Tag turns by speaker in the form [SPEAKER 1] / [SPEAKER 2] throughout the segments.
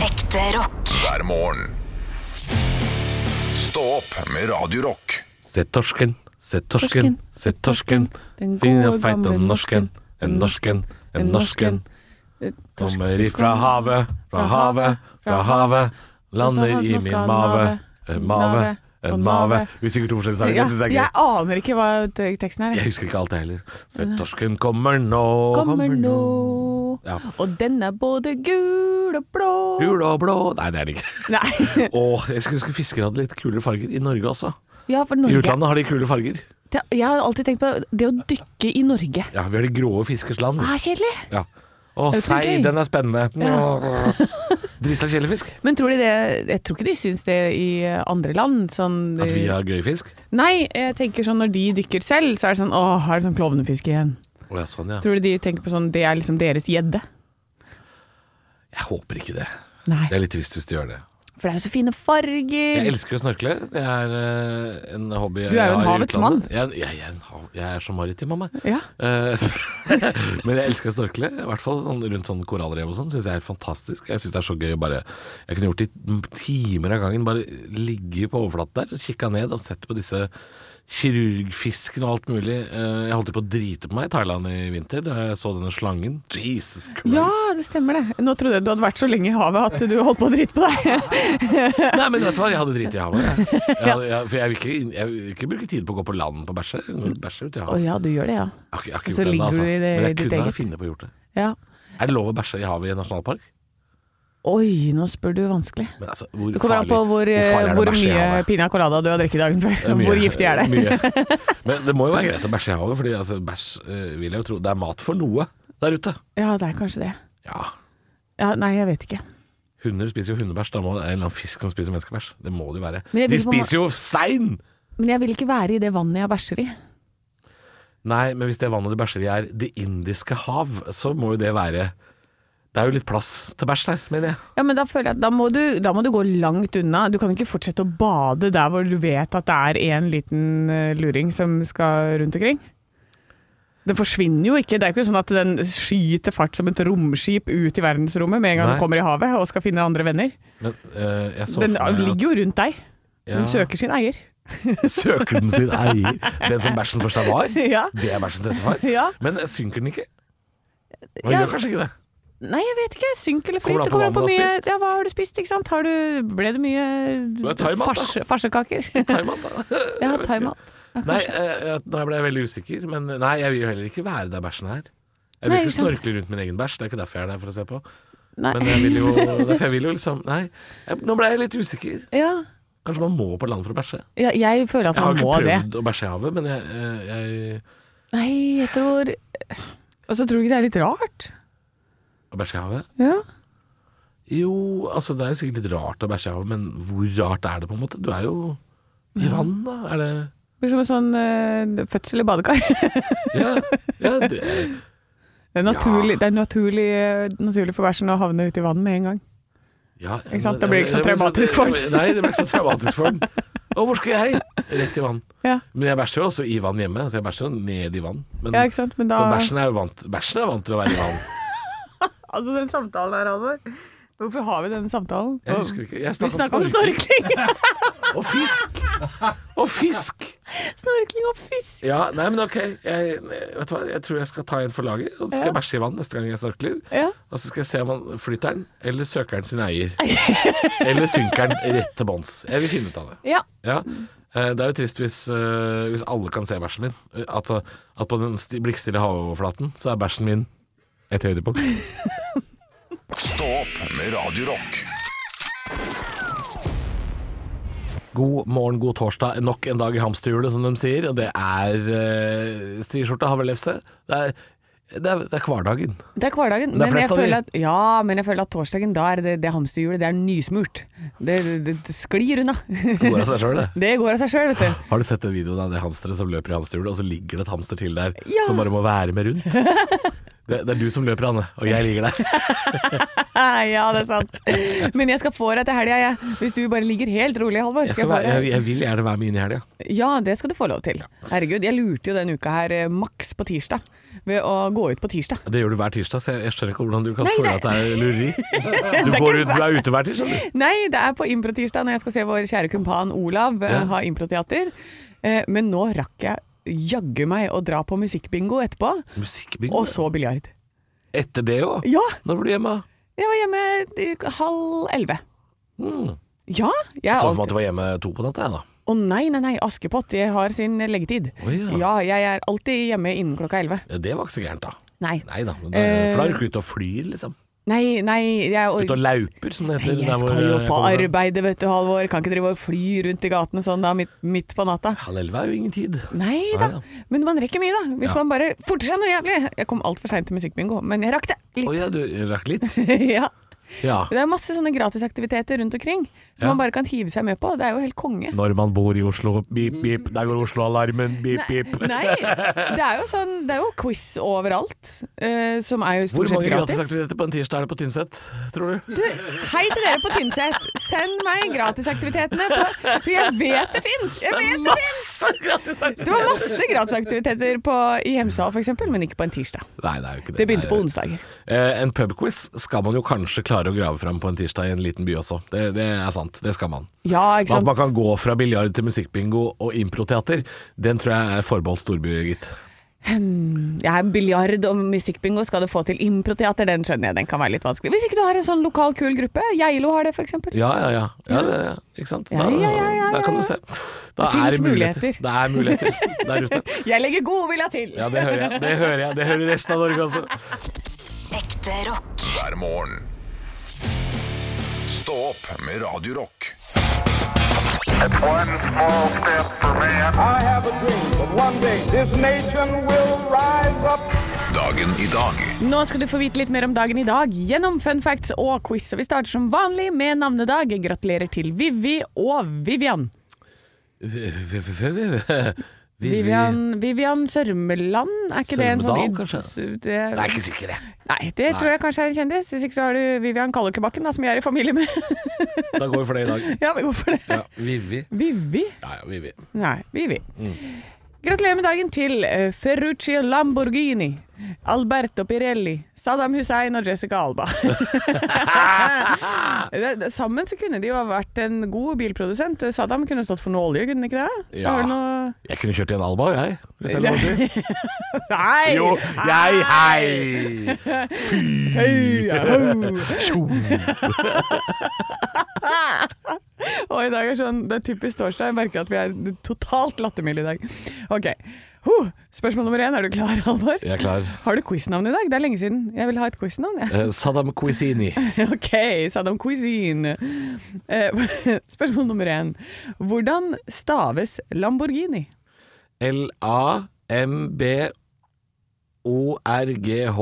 [SPEAKER 1] Ekte rock.
[SPEAKER 2] hver morgen. Stå opp med Radio Rock.
[SPEAKER 3] Se torsken, se torsken,
[SPEAKER 4] Torsken,
[SPEAKER 3] se torsken.
[SPEAKER 4] Den
[SPEAKER 3] Fin og
[SPEAKER 4] gode,
[SPEAKER 3] feit
[SPEAKER 4] gamle
[SPEAKER 3] og norsken, en norsken, en norsken. Kommer ifra havet, fra havet, fra havet. Lander i min mave, en mave, en mave. Vi synger to forskjellige sanger,
[SPEAKER 4] Ja,
[SPEAKER 3] det synes jeg er
[SPEAKER 4] jeg
[SPEAKER 3] gøy.
[SPEAKER 4] aner ikke hva te- teksten er.
[SPEAKER 3] Jeg
[SPEAKER 4] jeg.
[SPEAKER 3] husker ikke alt, jeg heller. Se torsken kommer nå,
[SPEAKER 4] Kommer nå,
[SPEAKER 3] Ja.
[SPEAKER 4] og den er både gul og blå.
[SPEAKER 3] Gul og blå Nei, det er det ikke.
[SPEAKER 4] Nei.
[SPEAKER 3] Åh, jeg skulle huske fiskere hadde litt kulere farger i Norge også.
[SPEAKER 4] Ja, for
[SPEAKER 3] I
[SPEAKER 4] Norge.
[SPEAKER 3] utlandet har de kulere farger.
[SPEAKER 4] Det, jeg har alltid tenkt på det å dykke i Norge.
[SPEAKER 3] Ja, vi har de grå fiskers land.
[SPEAKER 4] Ah, kjedelig.
[SPEAKER 3] Ja. Å,
[SPEAKER 4] Det er
[SPEAKER 3] sei,
[SPEAKER 4] gøy.
[SPEAKER 3] den er spennende. Drita kjælefisk.
[SPEAKER 4] Men tror de det Jeg tror ikke de syns det i eh, andre land. Sånn,
[SPEAKER 3] At vi har gøy fisk?
[SPEAKER 4] Nei, jeg tenker sånn når de dykker selv, så er det sånn Å, her er det sånn klovnefiske igjen.
[SPEAKER 3] Å ja, sånn ja.
[SPEAKER 4] Tror du de tenker på sånn Det er liksom deres gjedde?
[SPEAKER 3] Jeg håper ikke det.
[SPEAKER 4] Nei.
[SPEAKER 3] Det er litt trist hvis du gjør det.
[SPEAKER 4] For det er jo så fine farger.
[SPEAKER 3] Jeg elsker å snorkle. Det er eh, en hobby
[SPEAKER 4] Du er jo en havets mann.
[SPEAKER 3] Jeg, jeg, jeg, er en hav, jeg er så maritim av meg.
[SPEAKER 4] Ja.
[SPEAKER 3] Eh, Men jeg elsker å snorkle, i hvert fall sånn, rundt sånn korallrev og sånn. Syns jeg er helt fantastisk. Jeg syns det er så gøy å bare Jeg kunne gjort det i timer av gangen. Bare ligge på overflaten der, kikka ned og sett på disse kirurgfisken og alt mulig. Eh, Jeg holdt jo på å drite på meg i Thailand i vinter da jeg så denne slangen. Jesus Christ.
[SPEAKER 4] Ja, det stemmer det. Nå trodde jeg du hadde vært så lenge i havet at du holdt på å drite på deg.
[SPEAKER 3] Nei, men vet du hva, jeg hadde dritt i havet. Jeg. Jeg hadde, jeg, for jeg vil, ikke, inn- jeg vil ikke bruke tid på å gå på land på bæsje. Bæsje ute i
[SPEAKER 4] Å
[SPEAKER 3] havet.
[SPEAKER 4] ja, du gjør det, ja.
[SPEAKER 3] Jeg har ikke, jeg har ikke gjort
[SPEAKER 4] Så
[SPEAKER 3] det ennå,
[SPEAKER 4] ligger
[SPEAKER 3] altså.
[SPEAKER 4] du i det-
[SPEAKER 3] Men
[SPEAKER 4] i
[SPEAKER 3] jeg
[SPEAKER 4] ditt
[SPEAKER 3] kunne
[SPEAKER 4] eget.
[SPEAKER 3] ha funnet på å gjort det.
[SPEAKER 4] ja.
[SPEAKER 3] Er det lov å bæsje i havet i en nasjonalpark?
[SPEAKER 4] Oi, nå spør du vanskelig.
[SPEAKER 3] Men altså, hvor
[SPEAKER 4] Det kommer an på hvor,
[SPEAKER 3] farlig er det å
[SPEAKER 4] hvor
[SPEAKER 3] bæsje i
[SPEAKER 4] mye
[SPEAKER 3] havet?
[SPEAKER 4] piña colada du har drukket dagen før.
[SPEAKER 3] Det er mye.
[SPEAKER 4] Hvor giftig er det?
[SPEAKER 3] Mye. Men det må jo være greit å bæsje i havet, Fordi altså, bæsj eh, vil jeg jo tro Det er mat for noe der ute.
[SPEAKER 4] Ja, det er kanskje det.
[SPEAKER 3] Ja.
[SPEAKER 4] Ja, nei, jeg vet ikke.
[SPEAKER 3] Hunder spiser jo hundebæsj. Da må det være en eller annen fisk som spiser menneskebæsj. Det må det jo være.
[SPEAKER 4] Men jeg
[SPEAKER 3] De
[SPEAKER 4] vil på ma-
[SPEAKER 3] spiser jo stein!
[SPEAKER 4] Men jeg vil ikke være i det vannet jeg bæsjer i.
[SPEAKER 3] Nei, men hvis det vannet du bæsjer i er Det indiske hav, så må jo det være Det er jo litt plass til bæsj der, mener jeg.
[SPEAKER 4] Ja, men da føler jeg at da må, du, da må du gå langt unna. Du kan ikke fortsette å bade der hvor du vet at det er en liten eh, luring som skal rundt omkring. Den forsvinner jo ikke. Det er jo ikke sånn at den skyter fart som et romskip ut i verdensrommet med en gang
[SPEAKER 3] Nei.
[SPEAKER 4] den kommer i havet og skal finne andre venner.
[SPEAKER 3] Men eh, jeg så
[SPEAKER 4] Den
[SPEAKER 3] for meg at-
[SPEAKER 4] ligger jo rundt deg.
[SPEAKER 3] Ja.
[SPEAKER 4] Den søker sin eier.
[SPEAKER 3] Søker den sin eier. Den som bæsjen først er var.
[SPEAKER 4] Ja.
[SPEAKER 3] Det er bæsjens ettefar.
[SPEAKER 4] Ja.
[SPEAKER 3] Men synker den ikke? Den
[SPEAKER 4] Ja.
[SPEAKER 3] gjør kanskje ikke det.
[SPEAKER 4] Nei, jeg vet ikke. Synk eller flyt.
[SPEAKER 3] Kommer det an på
[SPEAKER 4] Det kommer an på
[SPEAKER 3] hva man
[SPEAKER 4] mye
[SPEAKER 3] har spist?
[SPEAKER 4] Ja, hva har du spist, ikke sant? Har du Ble det mye
[SPEAKER 3] Det er thaimat, da.
[SPEAKER 4] farse- farsekaker?
[SPEAKER 3] Thaimat, da.
[SPEAKER 4] Ja, thaimat. Ja,
[SPEAKER 3] Nei,
[SPEAKER 4] kanskje.
[SPEAKER 3] eh, nå ble jeg veldig usikker, men nei, jeg vil jo heller ikke være der bæsjen er. Jeg vil
[SPEAKER 4] Nei,
[SPEAKER 3] ikke
[SPEAKER 4] sant.
[SPEAKER 3] snorkle rundt min egen bæsj, det er ikke derfor jeg er der for å se på.
[SPEAKER 4] Nei.
[SPEAKER 3] Men jeg vil jo, derfor jeg vil jo liksom Nei, jeg, nå ble jeg litt usikker.
[SPEAKER 4] Ja.
[SPEAKER 3] Kanskje man må på land for å bæsje.
[SPEAKER 4] ja. Jeg føler at
[SPEAKER 3] Jeg har
[SPEAKER 4] man
[SPEAKER 3] ikke
[SPEAKER 4] må det.
[SPEAKER 3] prøvd å bæsje i havet, men jeg, eh, jeg
[SPEAKER 4] Nei, jeg tror Og så tror du ikke det er litt rart?
[SPEAKER 3] Å bæsje i havet?
[SPEAKER 4] Ja.
[SPEAKER 3] Jo, altså det er jo sikkert litt rart å bæsje i havet, men hvor rart er det på en måte? Du er jo i vann, da. Er det
[SPEAKER 4] Det blir som en sånn eh, fødsel i badekar.
[SPEAKER 3] Ja, ja det,
[SPEAKER 4] Det er naturlig, det er naturlig, eh, naturlig for bæsjen å havne ute i vannet med en gang.
[SPEAKER 3] ja
[SPEAKER 4] Ikke sant? Da blir det ikke så traumatisk for den.
[SPEAKER 3] Nei, det blir ikke så traumatisk for den. Og hvor skal jeg? Rett i vann.
[SPEAKER 4] Ja,
[SPEAKER 3] Men jeg bæsjer jo også i vann hjemme, så jeg bæsjer jo ned i vann. Men,
[SPEAKER 4] ja ikke sant? Men da
[SPEAKER 3] Så Mm. bæsjen er jo vant, bæsjen er vant til å være i vann.
[SPEAKER 4] Altså, den samtalen her, Halvor. Hvorfor har vi denne samtalen?
[SPEAKER 3] Jeg husker ikke. Jeg
[SPEAKER 4] Vi
[SPEAKER 3] snakket
[SPEAKER 4] snakker
[SPEAKER 3] om
[SPEAKER 4] om
[SPEAKER 3] snorkling.
[SPEAKER 4] snorkling!
[SPEAKER 3] Og fisk! Og fisk!
[SPEAKER 4] snorkling og fisk!
[SPEAKER 3] Ja, nei, men ok. Jeg, vet du hva? jeg tror jeg skal ta en for laget, og så skal jeg bæsje i vann neste gang jeg snorkler.
[SPEAKER 4] Ja.
[SPEAKER 3] Og så skal jeg se om han flytter den, eller søker den sin eier. eller synker den rett til bånns. Jeg vil finne ut av det.
[SPEAKER 4] Ja.
[SPEAKER 3] Ja. Eh, Det er jo trist hvis, eh, hvis alle kan se bæsjen min. Eh, At, at på den sti- blikkstille havoverflaten så er bæsjen min et høydepunkt.
[SPEAKER 2] Stå opp med Radio Rock.
[SPEAKER 3] God morgen, god torsdag. Nok en dag i hamsterhjulet, som de sier. Og det er eh, striskjorte, havrelefse. Det er, det, er, det er hverdagen.
[SPEAKER 4] Det er hverdagen.
[SPEAKER 3] Det er
[SPEAKER 4] Men jeg,
[SPEAKER 3] flest av de.
[SPEAKER 4] føler at, ja, men jeg føler at torsdagen, da er det, det hamsterhjulet, det er nysmurt. Det, det, det sklir unna.
[SPEAKER 3] Det går av seg sjøl, det.
[SPEAKER 4] Det går av seg sjøl, vet du.
[SPEAKER 3] Har du sett den videoen av det hamsteret som løper i hamsterhjulet, og så ligger det et hamster til der
[SPEAKER 4] Ja.
[SPEAKER 3] som bare må være med rundt? Det, det er du som løper, Anne, og jeg ligger der.
[SPEAKER 4] ja, det er sant. Men jeg skal få deg til helga, jeg. Hvis du bare ligger helt rolig, Halvor.
[SPEAKER 3] Jeg,
[SPEAKER 4] skal
[SPEAKER 3] skal
[SPEAKER 4] jeg få
[SPEAKER 3] være,
[SPEAKER 4] deg-
[SPEAKER 3] jeg, jeg vil gjerne være med inn i helga.
[SPEAKER 4] Ja, det skal du få lov til. Herregud, jeg lurte jo den uka her eh, maks på tirsdag. Ved å gå ut på tirsdag.
[SPEAKER 3] Det gjør du hver tirsdag, så jeg, jeg skjønner ikke hvordan du kan
[SPEAKER 4] Nei,
[SPEAKER 3] føle
[SPEAKER 4] det-
[SPEAKER 3] at det er lureri. Du,
[SPEAKER 4] Det er
[SPEAKER 3] går
[SPEAKER 4] ikke
[SPEAKER 3] ut, du er ute hver tirsdag, du.
[SPEAKER 4] Nei, det er på improtirsdag når jeg skal se vår kjære kumpan Olav eh,
[SPEAKER 3] Ja.
[SPEAKER 4] ha improteater. Eh, Men nå rakk jeg jaggu meg å dra på musikkbingo etterpå,
[SPEAKER 3] Musikkbingo.
[SPEAKER 4] og så biljard.
[SPEAKER 3] Etter det òg?
[SPEAKER 4] Ja,
[SPEAKER 3] Når var du hjemme? da?
[SPEAKER 4] jeg var hjemme eh, halv elleve.
[SPEAKER 3] Mm.
[SPEAKER 4] Ja, jeg er
[SPEAKER 3] Så for meg
[SPEAKER 4] alltid
[SPEAKER 3] at du var hjemme to på natta, jeg da.
[SPEAKER 4] Å nei, nei, nei, Askepott jeg har sin leggetid.
[SPEAKER 3] Å ja.
[SPEAKER 4] ja, jeg er alltid hjemme innen klokka elleve.
[SPEAKER 3] Ja, Det var ikke så gærent, da.
[SPEAKER 4] Nei.
[SPEAKER 3] Nei da. Men det,
[SPEAKER 4] Eh.
[SPEAKER 3] for da er du ikke ute og flyr, liksom.
[SPEAKER 4] Nei, nei, jeg
[SPEAKER 3] Ute og lauper, som det
[SPEAKER 4] Nei,
[SPEAKER 3] heter.
[SPEAKER 4] jeg
[SPEAKER 3] der hvor,
[SPEAKER 4] skal jo
[SPEAKER 3] eh, jeg
[SPEAKER 4] på
[SPEAKER 3] kommer fra.
[SPEAKER 4] arbeidet, vet du, Halvor. Kan ikke drive og fly rundt i gatene sånn da, midt, midt på natta.
[SPEAKER 3] Halv elleve er jo ingen tid.
[SPEAKER 4] Nei
[SPEAKER 3] Nei
[SPEAKER 4] da.
[SPEAKER 3] da.
[SPEAKER 4] Men man rekker mye, da. Hvis
[SPEAKER 3] Ja.
[SPEAKER 4] man bare forter seg noe jævlig. Jeg kom altfor seint til musikkbingo, men jeg rakk det.
[SPEAKER 3] Å
[SPEAKER 4] Litt.
[SPEAKER 3] ja, du rakk litt?
[SPEAKER 4] ja.
[SPEAKER 3] Ja.
[SPEAKER 4] Det er masse sånne gratisaktiviteter rundt omkring som
[SPEAKER 3] Ja.
[SPEAKER 4] man bare kan hive seg med på. Det er jo helt konge.
[SPEAKER 3] Når man bor i Oslo, bip, bip, der går Oslo-alarmen, bip, bip.
[SPEAKER 4] Nei, det er jo sånn Det er jo quiz overalt, eh, som er jo
[SPEAKER 3] Hvor
[SPEAKER 4] stort sett
[SPEAKER 3] mange
[SPEAKER 4] gratis.
[SPEAKER 3] gratisaktiviteter på en tirsdag er det på Tynset, tror du?
[SPEAKER 4] Du, hei til dere på Tynset. Send meg gratisaktivitetene, på, for jeg vet det fins! Jeg vet det fins!
[SPEAKER 3] Masse gratisaktiviteter!
[SPEAKER 4] Det var masse gratisaktiviteter på, i Hemsedal f.eks., men ikke på en tirsdag.
[SPEAKER 3] Nei, det er jo ikke det.
[SPEAKER 4] Det begynte
[SPEAKER 3] Nei,
[SPEAKER 4] på onsdager.
[SPEAKER 3] Eh, en pubquiz skal man jo kanskje klare å grave fram på en tirsdag i en liten by også. Det, det er sant, det skal man.
[SPEAKER 4] Ja, ikke
[SPEAKER 3] At man
[SPEAKER 4] sant.
[SPEAKER 3] kan gå fra biljard til musikkbingo og improteater, den tror jeg er forbeholdt storbyer, gitt.
[SPEAKER 4] Jeg er biljard og musikkbingo skal du få til improteater, den skjønner jeg. Den kan være litt vanskelig. Hvis ikke du har en sånn lokal kul gruppe. Geilo har det, f.eks.
[SPEAKER 3] Ja, ja, ja. ja det, ikke sant?
[SPEAKER 4] Ja, ja, ja, ja,
[SPEAKER 3] da kan du
[SPEAKER 4] ja, ja.
[SPEAKER 3] se. Da
[SPEAKER 4] Det finnes muligheter.
[SPEAKER 3] Det er muligheter der ute.
[SPEAKER 4] Jeg legger godvilja til!
[SPEAKER 3] Ja, det hører jeg. Det hører jeg. Det hører resten av Norge også.
[SPEAKER 1] Ekte rock.
[SPEAKER 2] hver morgen. Stå opp med Radio Rock.
[SPEAKER 5] It's one small step for man.
[SPEAKER 6] I have a dream that one day this nation will rise up.
[SPEAKER 2] Dagen i dag.
[SPEAKER 4] Nå skal du få vite litt mer om dagen i dag gjennom fun facts og quiz. Og vi starter som vanlig med navnedag. Gratulerer til Vivi og Vivian.
[SPEAKER 3] Vivian
[SPEAKER 4] Vivian, Vivian Sørmeland, er ikke
[SPEAKER 3] Sørmedal,
[SPEAKER 4] det en
[SPEAKER 3] kanskje?
[SPEAKER 4] sånn Det,
[SPEAKER 3] Jeg er ikke sikker, jeg.
[SPEAKER 4] Nei, det tror
[SPEAKER 3] Nei.
[SPEAKER 4] jeg kanskje er en kjendis. Hvis ikke så har du Vivian Kallekebakken, da, som jeg er i familie med.
[SPEAKER 3] Da går vi for det i dag.
[SPEAKER 4] ja, men hvorfor det?
[SPEAKER 3] Ja, Vivi.
[SPEAKER 4] Vivi?
[SPEAKER 3] Ja, ja, Vivi.
[SPEAKER 4] Nei, Vivi.
[SPEAKER 3] Mm.
[SPEAKER 4] Gratulerer med dagen til eh, Ferruccio Lamborghini, Alberto Pirelli, Saddam Hussein og Jessica Alba. Det- det- Sammen så kunne de jo ha vært en god bilprodusent. Saddam kunne stått for noe olje, kunne han ikke det? Så
[SPEAKER 3] Ja.
[SPEAKER 4] har du noe...
[SPEAKER 3] Jeg kunne kjørt i en Alba, jeg. Hvis jeg lov å si.
[SPEAKER 4] Nei!
[SPEAKER 3] Jo, jeg, hei! Tjo.
[SPEAKER 4] Og i dag er sånn, det er typisk torsdag. Jeg merker at vi er totalt lattermilde i dag. Ok. Huh, spørsmål nummer én. Er du klar, Halvor?
[SPEAKER 3] Jeg er klar.
[SPEAKER 4] Har du quiznavn i dag? Det er lenge siden. Jeg vil ha et quiznavn, jeg.
[SPEAKER 3] Eh, Saddam Quisini.
[SPEAKER 4] OK, Saddam Cuisine. Eh, Spørsmål nummer én. Hvordan staves Lamborghini?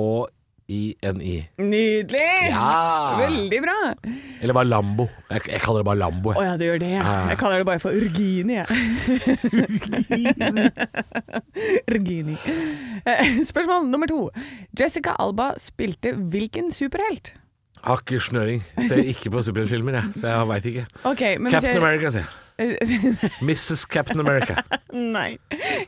[SPEAKER 3] L-A-M-B-O-R-G-H-I-N-I.
[SPEAKER 4] Nydelig!
[SPEAKER 3] Ja!
[SPEAKER 4] Veldig bra.
[SPEAKER 3] Eller bare Lambo. Jeg, jeg kaller det bare Lambo.
[SPEAKER 4] Å
[SPEAKER 3] jeg.
[SPEAKER 4] ja, du gjør det. ja.
[SPEAKER 3] Ja.
[SPEAKER 4] Jeg kaller det bare for Urgini, jeg. Urgini. Eh, Spørsmål nummer to. Jessica Alba spilte hvilken superhelt?
[SPEAKER 3] Har ikke snøring. Ser ikke på superheltfilmer, jeg, så jeg veit ikke.
[SPEAKER 4] Ok, men hvis
[SPEAKER 3] Captain
[SPEAKER 4] jeg-
[SPEAKER 3] America, sier jeg. Mrs. Captain America.
[SPEAKER 4] Nei.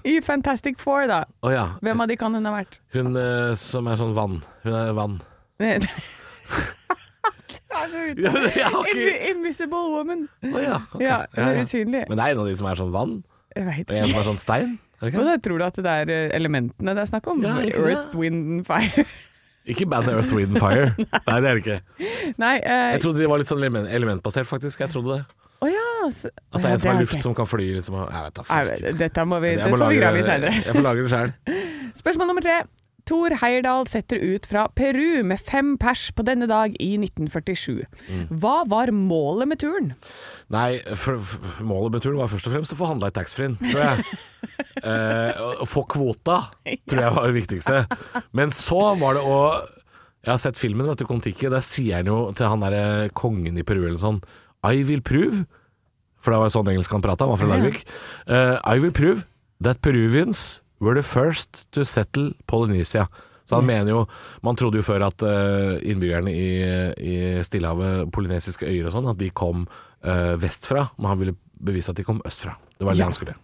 [SPEAKER 4] I Fantastic Four, da.
[SPEAKER 3] Å ja.
[SPEAKER 4] Hvem av de kan hun ha vært?
[SPEAKER 3] Hun eh, som er sånn vann. Hun er vann.
[SPEAKER 4] Det er så ute.
[SPEAKER 3] Ja, men jeg har ikke-
[SPEAKER 4] Invi- Invisible Woman.
[SPEAKER 3] Å ja, ok.
[SPEAKER 4] Ja, hun er usynlig.
[SPEAKER 3] Men det er en av de som er sånn vann,
[SPEAKER 4] Jeg veit
[SPEAKER 3] og en
[SPEAKER 4] ikke.
[SPEAKER 3] som er sånn stein. Er det
[SPEAKER 4] Og
[SPEAKER 3] ikke det?
[SPEAKER 4] da tror du at det er eh, elementene det er snakk om?
[SPEAKER 3] Ja, er det ikke
[SPEAKER 4] Earth,
[SPEAKER 3] det?
[SPEAKER 4] wind and fire.
[SPEAKER 3] Ikke bandet Earth, Wind and Fire. Nei, det er det ikke.
[SPEAKER 4] Nei eh,
[SPEAKER 3] Jeg trodde de var litt sånn element- elementbasert, faktisk. Jeg trodde det.
[SPEAKER 4] Å ja. Så,
[SPEAKER 3] At det er en som er
[SPEAKER 4] har jeg
[SPEAKER 3] luft
[SPEAKER 4] ikke.
[SPEAKER 3] som kan fly. Liksom. Jeg vet da
[SPEAKER 4] Nei,
[SPEAKER 3] faen ikke.
[SPEAKER 4] men dette må vi,
[SPEAKER 3] Jeg
[SPEAKER 4] det
[SPEAKER 3] må
[SPEAKER 4] får vi
[SPEAKER 3] lage-
[SPEAKER 4] grave i seinere.
[SPEAKER 3] Jeg får lage det sjøl.
[SPEAKER 4] Spørsmål nummer tre. Thor Heyerdahl setter ut fra Peru med fem pers på denne dag i 1947.
[SPEAKER 3] Mm.
[SPEAKER 4] Hva var målet med turen?
[SPEAKER 3] Nei, for, for, målet med turen var først og fremst å få handla i taxfree-en, tror jeg. Eh, å- å få kvota, tror jeg var det viktigste. Men så var det å Jeg har sett filmen, vet du, Kon-Tiki. Der sier han jo til han derre kongen i Peru eller sånn I will prove For det var sånn engelsk han prata, han var fra Larvik. Eh, I will prove that Peruvians were the first to settle Polynesia. Så han mener jo Man trodde jo før at eh, innbyggerne i, i Stillehavet, polynesiske øyer og sånn, at de kom eh, vestfra. Men han ville bevise at de kom østfra. Det var det
[SPEAKER 4] Ja.
[SPEAKER 3] han skulle.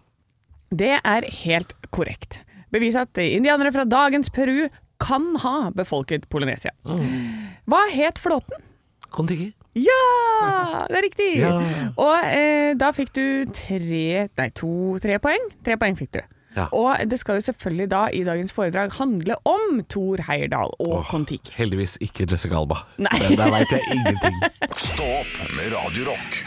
[SPEAKER 4] Det er helt korrekt. Bevis at indianere fra dagens Peru kan ha befolket Polynesia.
[SPEAKER 3] Mm.
[SPEAKER 4] Hva het flåten?
[SPEAKER 3] Kon-Tiki.
[SPEAKER 4] Ja! Det er riktig!
[SPEAKER 3] Ja.
[SPEAKER 4] Og eh, da fikk du tre Nei, to, tre poeng. Tre poeng fikk du.
[SPEAKER 3] Ja.
[SPEAKER 4] Og det skal jo selvfølgelig da i dagens foredrag handle om Thor Heyerdahl og Kon-Tiki.
[SPEAKER 3] Heldigvis ikke Jessica Alba.
[SPEAKER 4] Nei.
[SPEAKER 3] Der, der veit jeg ingenting.
[SPEAKER 2] Stå opp med Radio Rock.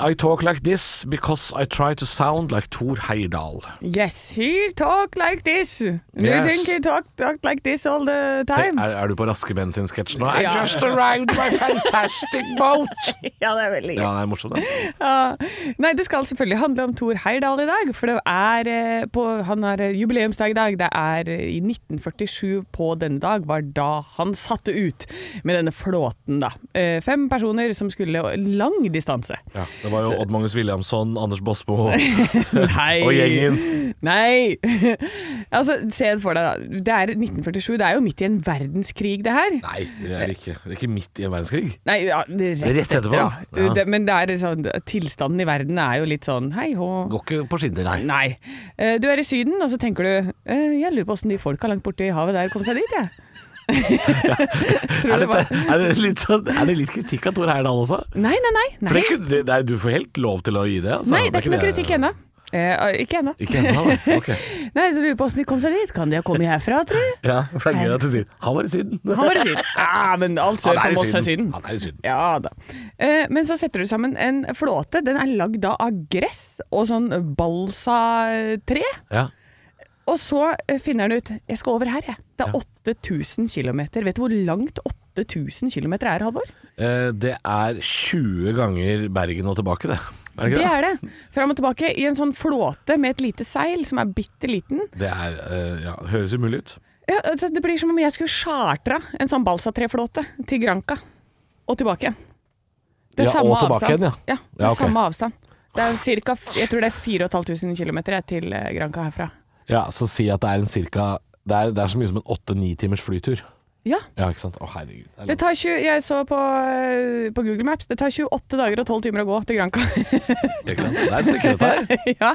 [SPEAKER 3] I talk like this because I try to sound like Thor Heyerdahl.
[SPEAKER 4] Yes, he talk like this. You
[SPEAKER 3] Yes.
[SPEAKER 4] think he talk, talk like this all the
[SPEAKER 3] Er,
[SPEAKER 4] time?
[SPEAKER 3] er du på Raske menn sin sketsj nå?
[SPEAKER 4] Ja.
[SPEAKER 3] I just arrived my fantastic boat!
[SPEAKER 4] Ja, det er veldig
[SPEAKER 3] Ja, det er morsomt. det.
[SPEAKER 4] Ja. Nei, det skal selvfølgelig handle om Thor Heyerdahl i dag, for det er eh, på, han har eh, jubileumsdag i dag. Det er eh, i 1947 på denne dag var da han satte ut med denne flåten, da. Eh, Fem personer som skulle lang distanse.
[SPEAKER 3] Ja, det var jo Odd Magnus Williamson, Anders Bosmo
[SPEAKER 4] Nei.
[SPEAKER 3] og gjengen.
[SPEAKER 4] Nei. altså, se for deg, da. Det er 1947. Det er jo midt i en verdenskrig, det her.
[SPEAKER 3] Nei, det er det ikke. Det er ikke midt i en verdenskrig.
[SPEAKER 4] Nei, ja, det er rett,
[SPEAKER 3] Rett etterpå,
[SPEAKER 4] Ja.
[SPEAKER 3] ja.
[SPEAKER 4] Det, men det er sånn, tilstanden i verden er jo litt sånn hei hå.
[SPEAKER 3] Går ikke på skinner, nei.
[SPEAKER 4] Nei. Eh, Du er i Syden, og så tenker du eh, Jeg lurer på åssen de folka langt borte i havet der kom seg dit, jeg. Tror
[SPEAKER 3] Er, dette,
[SPEAKER 4] det var
[SPEAKER 3] er, det litt sånn, er det litt kritikk av Thor Heyerdahl også?
[SPEAKER 4] Nei, nei, nei.
[SPEAKER 3] For det,
[SPEAKER 4] Nei,
[SPEAKER 3] er ikke- det, det er, du får helt lov til å gi det. Altså.
[SPEAKER 4] nei det er ikke noe
[SPEAKER 3] det-
[SPEAKER 4] kritikk ennå. Eh, Ikke ennå.
[SPEAKER 3] Ikke ennå, da. Ok.
[SPEAKER 4] Nei, du lurer på åssen de kom seg dit. Kan de ha kommet herfra, tror du?
[SPEAKER 3] Ja, for det er gøy at du sier 'han var i Syden'.
[SPEAKER 4] Han var i Syden. Ja, men alt sør for Moss er Syden.
[SPEAKER 3] Han er i Syden.
[SPEAKER 4] Ja da. Eh, Men så setter du sammen en flåte. Den er lagd da av gress og sånn balsatre.
[SPEAKER 3] Ja.
[SPEAKER 4] Og så eh, finner han ut Jeg skal over her, jeg. Det er 8000 km. Vet du hvor langt 8000 km er, Halvor?
[SPEAKER 3] Eh, Det er 20 ganger Bergen og tilbake, det. Er det
[SPEAKER 4] Det
[SPEAKER 3] ikke det?
[SPEAKER 4] er det. Fram og tilbake i en sånn flåte med et lite seil som er bitte liten.
[SPEAKER 3] Det er, eh, ja, høres umulig ut.
[SPEAKER 4] Ja, altså, det blir som om jeg skulle chartra en sånn balsatreflåte til Granca og tilbake igjen. Det er
[SPEAKER 3] Ja,
[SPEAKER 4] samme
[SPEAKER 3] og tilbake
[SPEAKER 4] avstand.
[SPEAKER 3] igjen, ja.
[SPEAKER 4] ja det er
[SPEAKER 3] Ja, ok.
[SPEAKER 4] samme avstand. Det er cirka, jeg tror det er 4500 km til eh, Granca herfra.
[SPEAKER 3] Ja, så si at det er en cirka Det er, det er så mye som en åtte-ni timers flytur.
[SPEAKER 4] Ja.
[SPEAKER 3] Ja, ikke sant? Å, herregud. Det er
[SPEAKER 4] Det tar 20, jeg så på, eh, på Google Maps, det tar 28 dager og 12 timer å gå til Granca.
[SPEAKER 3] langt, ikke sant? Det er et stykke, dette her.
[SPEAKER 4] ja.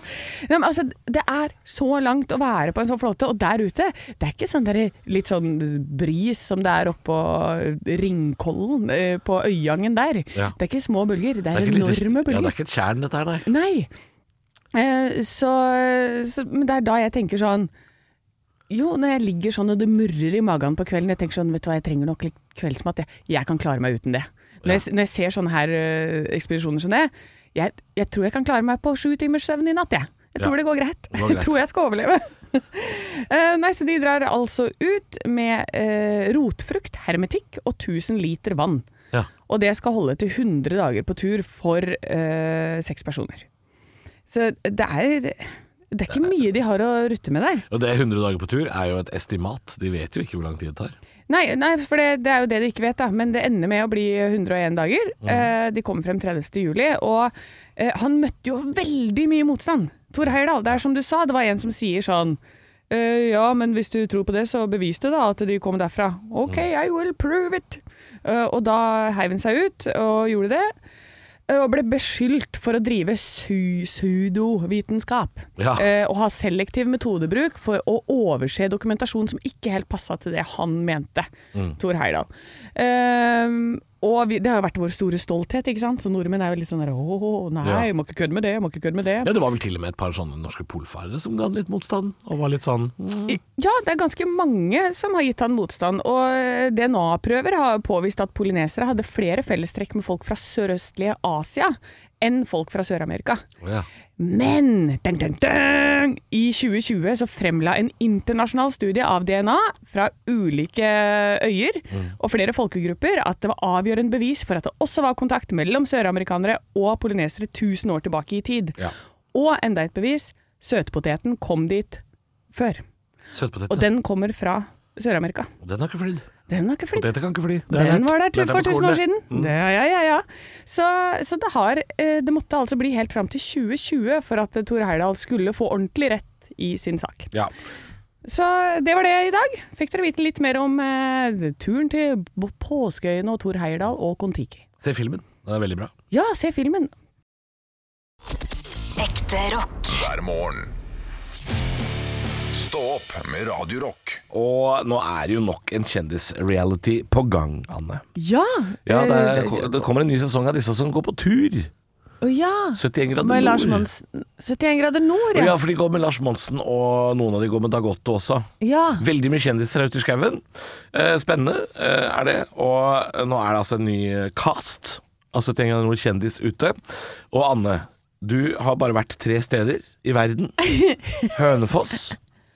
[SPEAKER 4] Nei, men altså, det er så langt å være på en sånn flåte, og der ute Det er ikke sånn der, litt sånn bris som det er oppå Ringkollen, eh, på Øyangen der.
[SPEAKER 3] Ja.
[SPEAKER 4] Det er ikke små bølger, det
[SPEAKER 3] Det
[SPEAKER 4] er,
[SPEAKER 3] ikke et lite-
[SPEAKER 4] enorme
[SPEAKER 3] Ja, det
[SPEAKER 4] bølger.
[SPEAKER 3] er ikke et tjern, dette her, nei.
[SPEAKER 4] Nei. Eh, så, så Men det er da jeg tenker sånn jo, når jeg ligger sånn og det murrer i magen på kvelden, jeg tenker sånn, vet du hva, jeg trenger nok litt kveldsmat, jeg, jeg kan klare meg uten det. Når, jeg, når jeg ser sånne her eh, ekspedisjoner som det, jeg, jeg tror jeg kan klare meg på sju timers søvn i natt, jeg. Jeg
[SPEAKER 3] Ja.
[SPEAKER 4] tror det går greit.
[SPEAKER 3] går greit.
[SPEAKER 4] Jeg tror jeg skal overleve. Eh, nei, så de drar altså ut med eh, rotfrukt, hermetikk og 1000 liter vann.
[SPEAKER 3] Ja.
[SPEAKER 4] Og det skal holde til 100 dager på tur for eh, seks personer. Så det er, det er ikke mye de har å rutte med der.
[SPEAKER 3] Og det 100 dager på tur er jo et estimat. De vet jo ikke hvor lang tid det tar.
[SPEAKER 4] Nei, nei for det, det er jo det de ikke vet, da. Men det ender med å bli 101 dager. Eh, de kommer frem 30. juli, og eh, han møtte jo veldig mye motstand. Tor Heyerdahl, det er som du sa, det var en som sier sånn eh, ja, men hvis du tror på det, så bevis det da at de kom derfra. OK, I will prove it. Eh, og da heiv han seg ut og gjorde det. eh, Og ble beskyldt for å drive su pseudovitenskap.
[SPEAKER 3] Ja.
[SPEAKER 4] Eh, og ha selektiv metodebruk for å overse dokumentasjon som ikke helt passa til det han mente,
[SPEAKER 3] Mm.
[SPEAKER 4] Thor Heyerdahl. Ehm, og vi, det har jo vært vår store stolthet, ikke sant? så nordmenn er jo litt sånn der åh, nei,
[SPEAKER 3] Ja.
[SPEAKER 4] jeg må ikke kødde med det, jeg må ikke kødde med det.
[SPEAKER 3] Ja, Det var vel til og med et par sånne norske polfarere som ga han litt motstand, og var litt sånn mm.
[SPEAKER 4] Ja, det er ganske mange som har gitt han motstand, og eh, DNA-prøver har påvist at polynesere hadde flere fellestrekk med folk fra sørøstlige Asia enn folk fra Sør-Amerika.
[SPEAKER 3] Å ja.
[SPEAKER 4] Men dang, dang, dang, i 2020 så fremla en internasjonal studie av DNA fra ulike øyer og flere folkegrupper at det var avgjørende bevis for at det også var kontakt mellom søramerikanere og polynesere 1000 år tilbake i tid.
[SPEAKER 3] Ja.
[SPEAKER 4] Og enda et bevis søtpoteten kom dit før.
[SPEAKER 3] Søtpotet.
[SPEAKER 4] Og den kommer fra Sør-Amerika.
[SPEAKER 3] den har ikke flydd.
[SPEAKER 4] Den har ikke flydd.
[SPEAKER 3] Poteter kan ikke fly. Det er
[SPEAKER 4] Den
[SPEAKER 3] lært.
[SPEAKER 4] var der
[SPEAKER 3] Lærte
[SPEAKER 4] tu-
[SPEAKER 3] jeg
[SPEAKER 4] for
[SPEAKER 3] på
[SPEAKER 4] 1000 år
[SPEAKER 3] skolen,
[SPEAKER 4] siden. Det, ja, ja, ja. Så, så det, har, eh, det måtte altså bli helt fram til 2020 for at Tor Heyerdahl skulle få ordentlig rett i sin sak.
[SPEAKER 3] Ja.
[SPEAKER 4] Så det var det i dag. Fikk dere vite litt mer om eh, turen til Bo- Påskeøyene og Tor Heyerdahl og Kon-Tiki.
[SPEAKER 3] Se filmen. Den er veldig bra.
[SPEAKER 4] Ja, se filmen.
[SPEAKER 1] Ekte rock.
[SPEAKER 2] hver morgen. Stå opp med Radio Rock.
[SPEAKER 3] Og nå er jo nok en kjendisreality på gang, Anne.
[SPEAKER 4] Ja!
[SPEAKER 3] Ja, det,
[SPEAKER 4] eh,
[SPEAKER 3] er, det kommer en ny sesong av disse som går på tur.
[SPEAKER 4] å Eh, ja.
[SPEAKER 3] 71 grader
[SPEAKER 4] Med Lars
[SPEAKER 3] nord.
[SPEAKER 4] Monsen 71 grader nord,
[SPEAKER 3] Og
[SPEAKER 4] ja.
[SPEAKER 3] Ja, for de går med Lars Monsen, og noen av de går med Dag Otto også.
[SPEAKER 4] ja.
[SPEAKER 3] Veldig mye kjendiser ute i skauen. Eh, Spennende eh, er det. Og nå er det altså en ny eh, cast. Altså tenk deg noe kjendis ute. Og Anne, du har bare vært tre steder i verden. Hønefoss,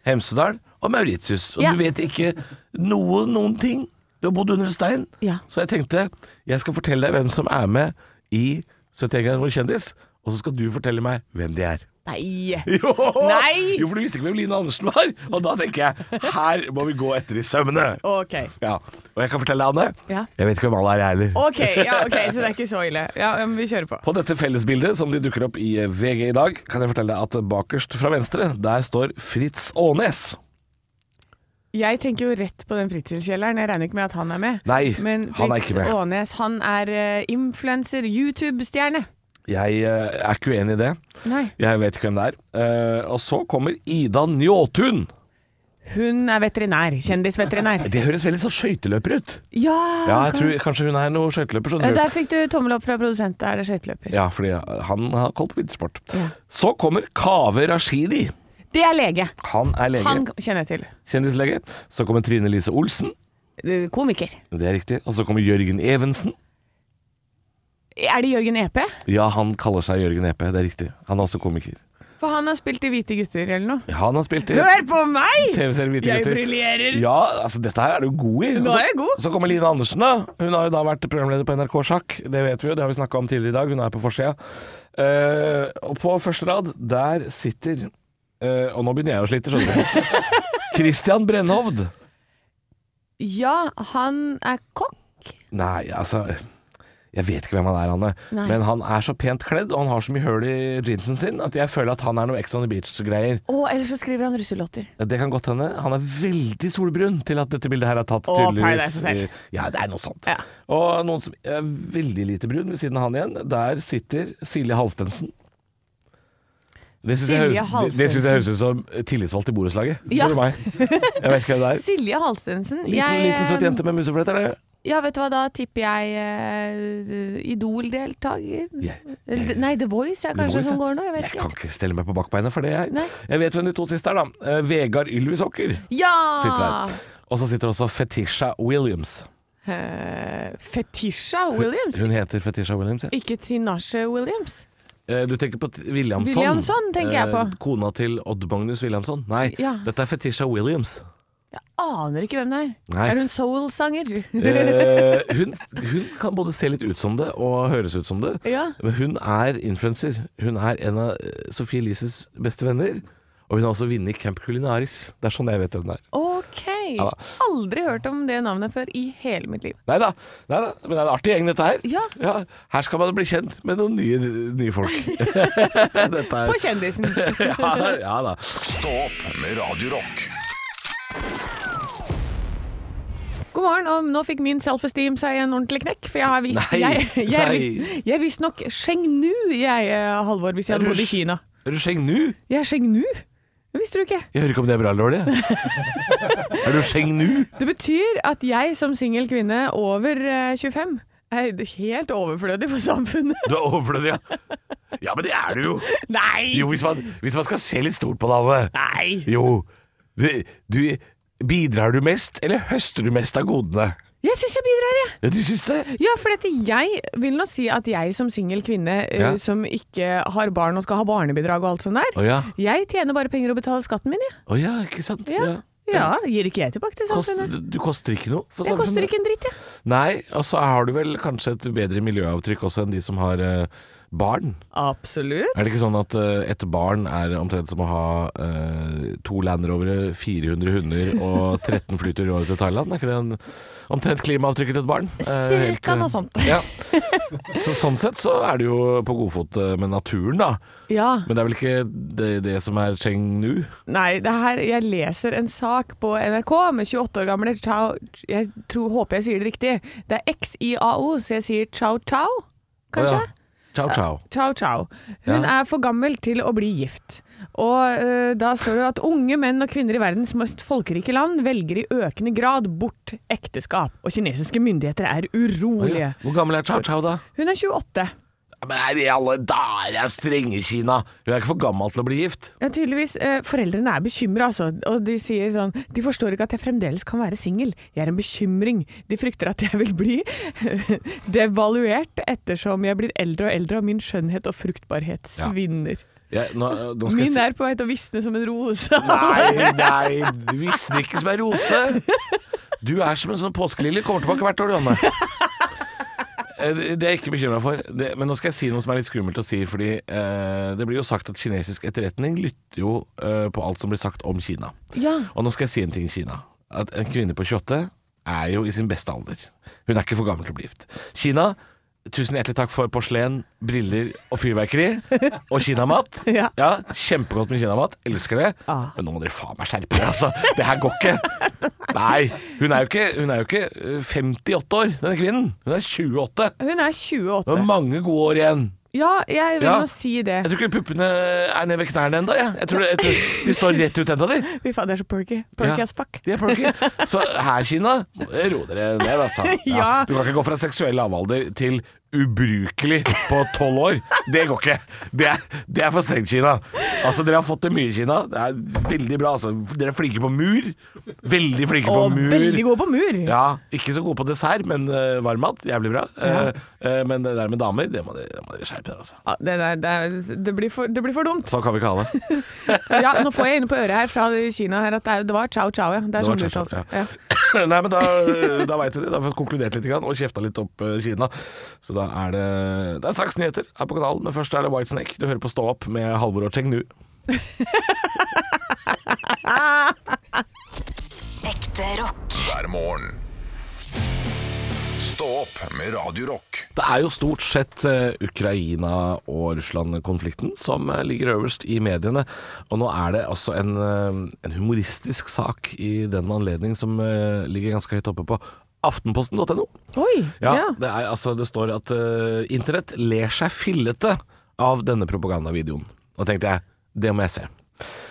[SPEAKER 3] Hemsedal og Mauritius. Og
[SPEAKER 4] Ja.
[SPEAKER 3] du vet ikke noe, noen ting. Du har bodd under en stein.
[SPEAKER 4] Ja.
[SPEAKER 3] Så jeg tenkte jeg skal fortelle deg hvem som er med i 71 grader nord kjendis, og så skal du fortelle meg hvem de er.
[SPEAKER 4] Nei.
[SPEAKER 3] Jo!
[SPEAKER 4] Nei!
[SPEAKER 3] Jo, for du visste ikke hvem Line Andersen var. Og da tenker jeg her må vi gå etter i sømmene.
[SPEAKER 4] Ok.
[SPEAKER 3] Ja. Og jeg kan fortelle deg, Anne,
[SPEAKER 4] Ja.
[SPEAKER 3] jeg vet ikke hvem alle er, jeg heller.
[SPEAKER 4] Ok, ja, ok, så det er ikke så ille. Ja, men vi kjører på.
[SPEAKER 3] På dette fellesbildet som de dukker opp i VG i dag, kan jeg fortelle deg at bakerst fra venstre, der står Fritz Aanes.
[SPEAKER 4] Jeg tenker jo rett på den fritidskjelleren. Jeg regner ikke med at han er med.
[SPEAKER 3] Nei,
[SPEAKER 4] Men
[SPEAKER 3] han er ikke med.
[SPEAKER 4] Aanes, han er uh, influenser, YouTube-stjerne.
[SPEAKER 3] Jeg eh, er ikke uenig i det.
[SPEAKER 4] Nei.
[SPEAKER 3] Jeg vet ikke hvem det er. Eh, og så kommer Ida Njåtun.
[SPEAKER 4] Hun er veterinær. Kjendisveterinær.
[SPEAKER 3] Det høres veldig sånn skøyteløper ut.
[SPEAKER 4] Ja!
[SPEAKER 3] Ja, jeg
[SPEAKER 4] kan-
[SPEAKER 3] tror kanskje hun er noe skøyteløper. sånn
[SPEAKER 4] Ja,
[SPEAKER 3] rød-
[SPEAKER 4] Der fikk du tommel opp fra produsent. Da er det skøyteløper.
[SPEAKER 3] Ja, fordi han har koll på vintersport.
[SPEAKER 4] Ja.
[SPEAKER 3] Så kommer Kaveh Rashidi.
[SPEAKER 4] Det er lege.
[SPEAKER 3] Han er lege.
[SPEAKER 4] Han kjenner jeg til.
[SPEAKER 3] Kjendislege. Så kommer Trine Lise Olsen.
[SPEAKER 4] Eh, Komiker.
[SPEAKER 3] Det er riktig. Og så kommer Jørgen Evensen.
[SPEAKER 4] Er det Jørgen E Epe?
[SPEAKER 3] Ja, han kaller seg Jørgen Epe. Det er riktig. Han er også komiker.
[SPEAKER 4] For han har spilt i Hvite gutter eller noe.
[SPEAKER 3] Han har spilt i
[SPEAKER 4] Hør på meg!
[SPEAKER 3] TV-serien Hvite
[SPEAKER 4] Jeg
[SPEAKER 3] gutter.
[SPEAKER 4] briljerer.
[SPEAKER 3] Ja, altså dette her er du god i. Altså,
[SPEAKER 4] Nå
[SPEAKER 3] Og så-
[SPEAKER 4] er jeg god.
[SPEAKER 3] Så kommer Line Andersen, da. Hun har jo da vært programleder på NRK Sjakk. Det vet vi jo, det har vi snakka om tidligere i dag. Hun er på forsida. Eh, og på første rad, der sitter eh, Og nå begynner jeg å slite, skjønner du. Christian Brennhovd.
[SPEAKER 4] Ja, han er kokk.
[SPEAKER 3] Nei, altså Jeg vet ikke hvem han er, Anne.
[SPEAKER 4] Nei.
[SPEAKER 3] Men han er så pent kledd, og han har så mye høl i jeansen sin, at jeg føler at han er noe Ex on the Beach-greier.
[SPEAKER 4] Og ellers så skriver han russelåter.
[SPEAKER 3] Det kan godt hende. Han er veldig solbrun til at dette bildet her er tatt
[SPEAKER 4] Og
[SPEAKER 3] tydeligvis.
[SPEAKER 4] Paradise Hotel.
[SPEAKER 3] i- Ja, det er noe sånt.
[SPEAKER 4] Ja.
[SPEAKER 3] Og noen som er veldig lite brun ved siden av han igjen, der sitter Silje Halstensen. Det syns jeg,
[SPEAKER 4] Silje
[SPEAKER 3] høres- det- det synes jeg høres ut som tillitsvalgt i borettslaget, spør
[SPEAKER 4] Ja.
[SPEAKER 3] du meg. Jeg vet ikke hva det er.
[SPEAKER 4] Silje Halstensen. eh,
[SPEAKER 3] Liten, liten søt jente med musefletter, det.
[SPEAKER 4] Ja, vet du hva, da tipper jeg eh, Idol-deltaker.
[SPEAKER 3] Jeg-
[SPEAKER 4] Eller, Nei, The Voice er
[SPEAKER 3] The
[SPEAKER 4] kanskje
[SPEAKER 3] Voice,
[SPEAKER 4] som
[SPEAKER 3] ja.
[SPEAKER 4] går nå, jeg vet
[SPEAKER 3] Jeg
[SPEAKER 4] ikke.
[SPEAKER 3] kan ikke stelle meg på bakbeina for det, jeg.
[SPEAKER 4] Nei.
[SPEAKER 3] Jeg vet hvem de to siste er, da. Eh, Vegard Ylvisåker
[SPEAKER 4] Ja!
[SPEAKER 3] sitter her. Og så sitter også Fetisha Williams.
[SPEAKER 4] Eh, Fetisha Williams?
[SPEAKER 3] Hun heter Fetisha Williams, ja.
[SPEAKER 4] Ikke Tinashe Williams?
[SPEAKER 3] Eh, Du tenker på T- Williamson.
[SPEAKER 4] Williamson tenker jeg på.
[SPEAKER 3] Eh, Kona til Odd Magnus Williamson. Nei,
[SPEAKER 4] Ja.
[SPEAKER 3] dette er Fetisha Williams.
[SPEAKER 4] Aner ikke hvem det er.
[SPEAKER 3] Nei.
[SPEAKER 4] Er hun soul-sanger?
[SPEAKER 3] Eh, hun, hun kan både se litt ut som det og høres ut som det.
[SPEAKER 4] Ja.
[SPEAKER 3] Men hun er influenser. Hun er en av eh, Sophie Elises beste venner. Og hun har også vunnet Camp Culinaris. Det er sånn jeg vet hvem det er.
[SPEAKER 4] Ok.
[SPEAKER 3] Ja da.
[SPEAKER 4] Aldri hørt om det navnet før i hele mitt liv.
[SPEAKER 3] Nei da, men det er en artig gjeng dette her.
[SPEAKER 4] Ja.
[SPEAKER 3] her skal man bli kjent med noen nye, nye folk. dette
[SPEAKER 4] På
[SPEAKER 3] er,
[SPEAKER 4] kjendisen.
[SPEAKER 3] ja, da, ja da.
[SPEAKER 2] Stå opp med Radio Rock.
[SPEAKER 4] God morgen, og nå fikk min self-esteem seg en ordentlig knekk, for jeg har visst
[SPEAKER 3] Nei,
[SPEAKER 4] jeg, jeg,
[SPEAKER 3] nei.
[SPEAKER 4] jeg er visst nok Chengnu, jeg, eh, Halvor, hvis jeg
[SPEAKER 3] Er
[SPEAKER 4] hadde
[SPEAKER 3] du
[SPEAKER 4] bodd i
[SPEAKER 3] sk-
[SPEAKER 4] Kina.
[SPEAKER 3] Er du skjeng nu?
[SPEAKER 4] Jeg er Chengnu? Det visste du ikke.
[SPEAKER 3] Jeg hører ikke om det er bra eller dårlig. er du skjeng nu?
[SPEAKER 4] Det betyr at jeg som singel kvinne over eh, 25 er helt overflødig for samfunnet.
[SPEAKER 3] Du er overflødig, ja. Ja, men det er du jo.
[SPEAKER 4] Nei!
[SPEAKER 3] Jo, hvis man, hvis man skal se litt stort på det, Anne.
[SPEAKER 4] Nei!
[SPEAKER 3] Jo. Du, du Bidrar du mest, eller høster du mest av godene?
[SPEAKER 4] Jeg syns jeg bidrar, jeg.
[SPEAKER 3] Ja, Du syns det?
[SPEAKER 4] Ja, for dette, jeg vil nå si at jeg som singel kvinne eh,
[SPEAKER 3] Ja.
[SPEAKER 4] som ikke har barn og skal ha barnebidrag og alt sånt der,
[SPEAKER 3] Å ja.
[SPEAKER 4] jeg tjener bare penger og betaler skatten min, jeg.
[SPEAKER 3] Å ja, ikke sant?
[SPEAKER 4] Ja. Ja, gir ikke jeg tilbake til
[SPEAKER 3] Kost,
[SPEAKER 4] samfunnet.
[SPEAKER 3] du, du koster ikke noe for
[SPEAKER 4] Jeg koster
[SPEAKER 3] samfunnet.
[SPEAKER 4] ikke en dritt, jeg.
[SPEAKER 3] Nei, og så har du vel kanskje et bedre miljøavtrykk også enn de som har eh, barn.
[SPEAKER 4] Absolutt.
[SPEAKER 3] Er det ikke sånn at eh, et barn er omtrent som å ha eh, to Land Rovere, 400 hunder og 13 flyter i året til Thailand? Er ikke det en, omtrent klimaavtrykket til et barn? Eh, helt,
[SPEAKER 4] Cirka
[SPEAKER 3] eh,
[SPEAKER 4] noe sånt.
[SPEAKER 3] Ja. Så, sånn sett så er du jo på godfot eh, med naturen, da.
[SPEAKER 4] Ja.
[SPEAKER 3] Men det er vel ikke det, det som er Chengnu?
[SPEAKER 4] Nei, det her, jeg leser en sak på NRK med 28 år gamle Chao Jeg tror, håper jeg sier det riktig. Det er XIAO, så jeg sier Chao Chao, kanskje?
[SPEAKER 3] Å ja. Ciao, ciao.
[SPEAKER 4] Ciao, ciao. Hun
[SPEAKER 3] Ja.
[SPEAKER 4] er for gammel til å bli gift. Og eh, da står det at unge menn og kvinner i verdens mest folkerike land velger i økende grad bort ekteskap, og kinesiske myndigheter er
[SPEAKER 3] Å
[SPEAKER 4] urolige.
[SPEAKER 3] ja. Hvor gammel er Ciao Ciao, da?
[SPEAKER 4] Hun er 28.
[SPEAKER 3] Ja, Men er i alle dager, jeg er strenge Kina! Hun er ikke for gammel til å bli gift.
[SPEAKER 4] Ja, tydeligvis. eh, Foreldrene er bekymra, altså. Og de sier sånn De forstår ikke at jeg fremdeles kan være singel. Jeg er en bekymring. De frykter at jeg vil bli devaluert ettersom jeg blir eldre og eldre og min skjønnhet og fruktbarhet
[SPEAKER 3] Ja.
[SPEAKER 4] svinner.
[SPEAKER 3] Jeg, nå, nå skal jeg
[SPEAKER 4] Min
[SPEAKER 3] si-
[SPEAKER 4] er på vei til å visne som en rose.
[SPEAKER 3] Nei, nei, du visste ikke som ei rose. Du er som en sånn påskelilje. Kommer tilbake hvert år, du, Anne. Eh, Det det er jeg ikke bekymra for. Det, men nå skal jeg si noe som er litt skummelt å si. Fordi eh, det blir jo sagt at kinesisk etterretning lytter jo eh, på alt som blir sagt om Kina.
[SPEAKER 4] Ja.
[SPEAKER 3] Og nå skal jeg si en ting i Kina. At en kvinne på 28 er jo i sin beste alder. Hun er ikke for gammel til å bli gift. Kina, tusen hjertelig takk for porselen, briller og fyrverkeri. Og kinamat.
[SPEAKER 4] Ja.
[SPEAKER 3] kjempegodt med kinamat. Elsker det.
[SPEAKER 4] Ah.
[SPEAKER 3] Men nå må dere faen meg skjerpe dere, altså. Det her går ikke. Nei. Hun er jo ikke, hun er jo ikke eh, 58 år, denne kvinnen. Hun er 28.
[SPEAKER 4] Hun er
[SPEAKER 3] Hun har
[SPEAKER 4] 28.
[SPEAKER 3] mange gode år igjen.
[SPEAKER 4] Ja, jeg vil
[SPEAKER 3] Ja.
[SPEAKER 4] nå si det.
[SPEAKER 3] Jeg tror ikke puppene er nede ved knærne ennå, jeg. Jeg tror, jeg tror de står rett ut enda, de.
[SPEAKER 4] Fy faen, det er så perky. Perky
[SPEAKER 3] Ja.
[SPEAKER 4] as fuck.
[SPEAKER 3] De er perky. Så her, Kina, ro dere ned, altså.
[SPEAKER 4] Ja.
[SPEAKER 3] Du kan ikke gå fra seksuell lavalder til ubrukelig på tolv år. Det går ikke. Det er, det er for strengt, Kina. Altså, dere har fått til mye, Kina. Det er veldig bra. Altså. Dere er flinke på mur. Veldig flinke på
[SPEAKER 4] Og
[SPEAKER 3] mur.
[SPEAKER 4] veldig god på mur.
[SPEAKER 3] Ja, ikke så gode på dessert, men uh, varmmat. Jævlig bra. Eh, eh, men det der med damer, det må dere, det må dere skjerpe dere, altså.
[SPEAKER 4] Ja, det, der- det, er- det, blir for, det blir for dumt.
[SPEAKER 3] Sånn kan vi ikke ha det.
[SPEAKER 4] Ja, nå får jeg inne på øret her fra Kina her at det, er, det var ciao ciao, ja. Det er
[SPEAKER 3] Det
[SPEAKER 4] sånn
[SPEAKER 3] var
[SPEAKER 4] det
[SPEAKER 3] ciao,
[SPEAKER 4] uttales.
[SPEAKER 3] ciao,
[SPEAKER 4] Ja.
[SPEAKER 3] Nei, men da, da veit vi det. Da har vi konkludert litt grann, og kjefta litt opp eh, Kina. Så da er det Det er straks nyheter her på kanalen, men først er det Whitesnake. Du hører på Stå opp med Halvor og Chengnu.
[SPEAKER 1] Ekte rock.
[SPEAKER 2] hver morgen. Stå opp med Radio Rock.
[SPEAKER 3] Det er jo stort sett eh, Ukraina- og Russland-konflikten som eh, ligger øverst i mediene. Og nå er det altså en, eh, en humoristisk sak i den anledning som eh, ligger ganske høyt oppe på aftenposten.no.
[SPEAKER 4] Oi! Ja.
[SPEAKER 3] Ja, Det, er, altså, det står at eh, internett ler seg fillete av denne propagandavideoen. Og tenkte jeg, det må jeg se.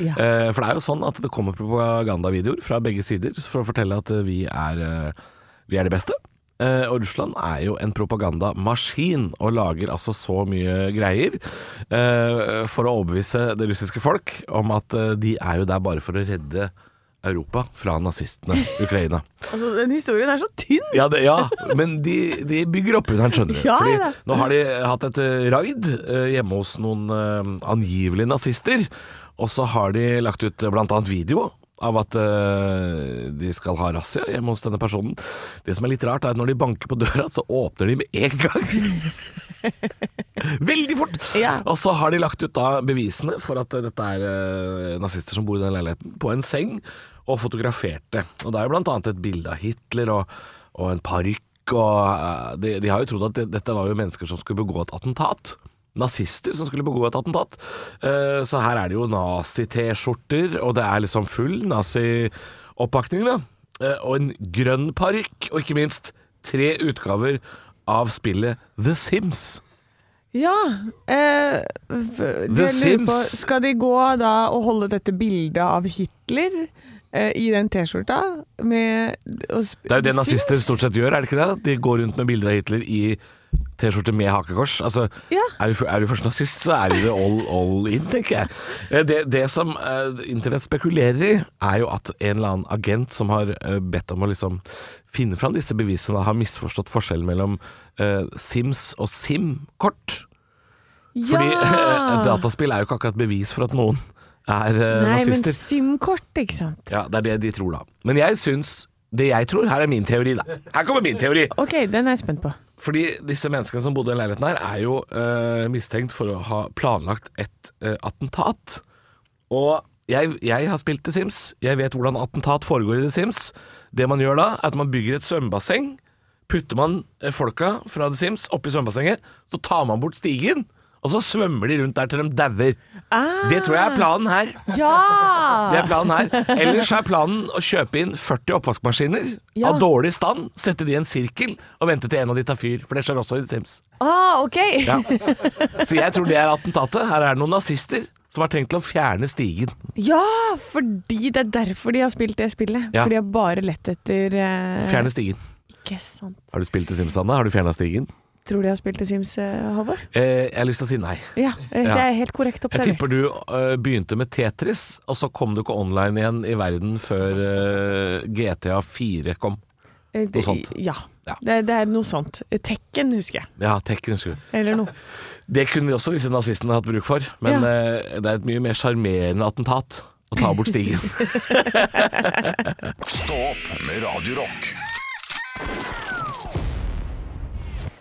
[SPEAKER 4] Ja.
[SPEAKER 3] Eh, for det er jo sånn at det kommer propagandavideoer fra begge sider for å fortelle at eh, vi er, eh, vi er de beste. Eh, og Russland er jo en propagandamaskin og lager altså så mye greier eh, for å overbevise det russiske folk om at eh, de er jo der bare for å redde Europa fra nazistene, Ukraina.
[SPEAKER 4] Altså, den historien er så tynn!
[SPEAKER 3] Ja, det, ja. men de, de bygger opp under den, skjønner du.
[SPEAKER 4] Ja,
[SPEAKER 3] Fordi
[SPEAKER 4] ja.
[SPEAKER 3] nå har de hatt et eh, raid eh, hjemme hos noen eh, angivelige nazister. Og så har de lagt ut eh, blant annet video av at eh, de skal ha razzia hjemme hos denne personen. Det som er litt rart, er at når de banker på døra, så åpner de med en gang. Veldig fort!
[SPEAKER 4] Ja.
[SPEAKER 3] Og så har de lagt ut da bevisene for at eh, dette er eh, nazister som bor i den leiligheten, på en seng, og fotografert det. Og det er jo blant annet et bilde av Hitler og, og en parykk, og eh, de, de har jo trodd at det, dette var jo mennesker som skulle begå et attentat. Nazister som skulle begå et attentat. Eh, Så her er det jo nazi-T-skjorter, og det er liksom full nazi-oppakning, da. Eh, Og en grønn parykk, og ikke minst tre utgaver av spillet The Sims.
[SPEAKER 4] Ja. Eh, f- jeg lurer på,
[SPEAKER 3] Sims.
[SPEAKER 4] skal de gå da og holde dette bildet av Hitler eh, i den T-skjorta med og sp-
[SPEAKER 3] Det er jo det
[SPEAKER 4] Sims?
[SPEAKER 3] nazister stort sett gjør, er det ikke det? De går rundt med bilder av Hitler i T-skjorte med hakekors. Altså,
[SPEAKER 4] Ja.
[SPEAKER 3] er, du, er du først nazist, så er du det all, all in, tenker jeg. Eh, Det, det som eh, internett spekulerer i, er jo at en eller annen agent som har eh, bedt om å liksom finne fram disse bevisene, har misforstått forskjellen mellom eh, Sims og Sim-kort. Fordi
[SPEAKER 4] Ja!
[SPEAKER 3] dataspill er jo ikke akkurat bevis for at noen er eh,
[SPEAKER 4] Nei, men
[SPEAKER 3] nazister.
[SPEAKER 4] SIM-kort, ikke sant.
[SPEAKER 3] Ja, det er det de tror da. Men jeg syns Det jeg tror, her er min teori, da. Her kommer min teori.
[SPEAKER 4] Ok, den er jeg spent på.
[SPEAKER 3] Fordi disse menneskene som bodde i leiligheten her, er jo eh, mistenkt for å ha planlagt et eh, attentat. Og jeg, jeg har spilt The Sims. Jeg vet hvordan attentat foregår i The Sims. Det man gjør da, er at man bygger et svømmebasseng. Putter man eh, folka fra The Sims oppi svømmebassenget, så tar man bort stigen. Og så svømmer de rundt der til de dauer. Det tror jeg er planen her. Det
[SPEAKER 4] Ja!
[SPEAKER 3] er planen her. Ellers er planen å kjøpe inn 40 oppvaskmaskiner
[SPEAKER 4] Ja.
[SPEAKER 3] av dårlig stand, sette de i en sirkel og vente til en av de tar fyr, for det skjer også i The Sims.
[SPEAKER 4] Ah, ok!
[SPEAKER 3] Ja. Så jeg tror det er attentatet. Her er det noen nazister som har tenkt til å fjerne stigen.
[SPEAKER 4] Ja, fordi det er derfor de har spilt det spillet.
[SPEAKER 3] Ja.
[SPEAKER 4] For de har bare lett etter eh,
[SPEAKER 3] Fjerne stigen.
[SPEAKER 4] Ikke sant.
[SPEAKER 3] Har du spilt i Sims, Anna? Har du fjerna stigen?
[SPEAKER 4] Tror de har spilt The Sims, eh, Halvor?
[SPEAKER 3] Eh, jeg har lyst til å si nei.
[SPEAKER 4] Ja, eh,
[SPEAKER 3] Ja.
[SPEAKER 4] det er helt korrekt
[SPEAKER 3] Jeg
[SPEAKER 4] observert.
[SPEAKER 3] tipper du eh, begynte med Tetris, og så kom du ikke online igjen i verden før eh, GTA 4 kom.
[SPEAKER 4] Eh, det-
[SPEAKER 3] noe sånt.
[SPEAKER 4] Ja.
[SPEAKER 3] Ja.
[SPEAKER 4] Det, det er noe sånt. Tekken, husker jeg.
[SPEAKER 3] Ja, Tekken, husker du.
[SPEAKER 4] Eller noe.
[SPEAKER 3] Det kunne også disse nazistene hatt bruk for, men
[SPEAKER 4] Ja.
[SPEAKER 3] eh, det er et mye mer sjarmerende attentat å ta bort stigen.
[SPEAKER 2] Stå opp med Radio Rock.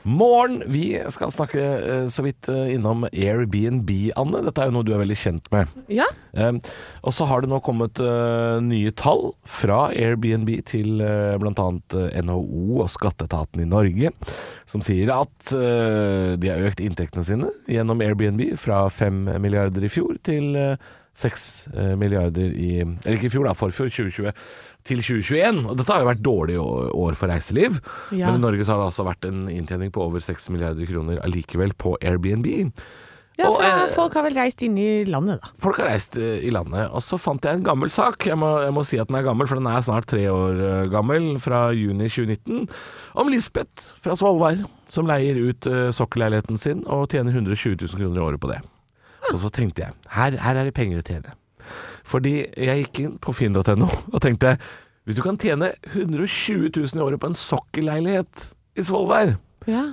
[SPEAKER 3] Morgen, vi skal snakke eh, så vidt eh, innom Airbnb, Anne. Dette er jo noe du er veldig kjent med.
[SPEAKER 4] Ja.
[SPEAKER 3] Um, og så har det nå kommet eh, nye tall fra Airbnb til uh, bl.a. NHO og skatteetaten i Norge, som sier at eh, de har økt inntektene sine gjennom Airbnb fra 5 milliarder i fjor til eh, 6 eh, milliarder i Eller ikke i fjor, da, forfjor, 2020 til 2021. Og dette har jo vært dårlige å- år for reiseliv,
[SPEAKER 4] Ja.
[SPEAKER 3] men i Norge så har det altså vært en inntjening på over 6 milliarder kroner allikevel på Airbnb.
[SPEAKER 4] ja
[SPEAKER 3] Og,
[SPEAKER 4] for
[SPEAKER 3] eh,
[SPEAKER 4] folk har vel reist inn i landet, da.
[SPEAKER 3] Folk har reist eh, i landet, og så fant jeg en gammel sak. Jeg må, jeg må si at den er gammel, for den er snart tre år eh, gammel, fra juni 2019. Om Lisbeth fra Svolvær, som leier ut eh, sokkelleiligheten sin og tjener 120 000 kroner i året på det. Og så tenkte jeg, her, her er det penger å tjene. Fordi jeg gikk inn på finn.no og tenkte, hvis du kan tjene 120 000 i året på en sokkelleilighet i Svolvær,
[SPEAKER 4] Ja.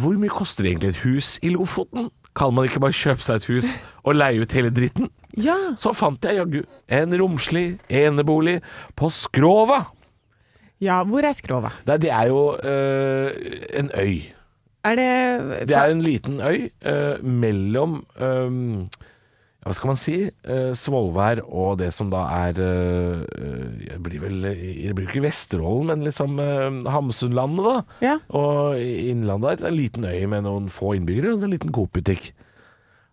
[SPEAKER 3] hvor mye koster egentlig et hus i Lofoten? Kan man ikke bare kjøpe seg et hus og leie ut hele dritten?
[SPEAKER 4] ja.
[SPEAKER 3] så fant jeg jaggu en romslig enebolig på Skrova.
[SPEAKER 4] Ja, hvor er skrova?
[SPEAKER 3] Nei, det er jo øh, en øy.
[SPEAKER 4] Er det,
[SPEAKER 3] Det er en liten øy øh, mellom øhm, Hva skal man si? Øh, Svolvær og det som da er øh, øh, Jeg blir vel Jeg blir ikke Vesterålen, men liksom øh, Hamsunlandet, da.
[SPEAKER 4] Ja.
[SPEAKER 3] Og i Innlandet er en liten øy med noen få innbyggere og en liten Coop-butikk.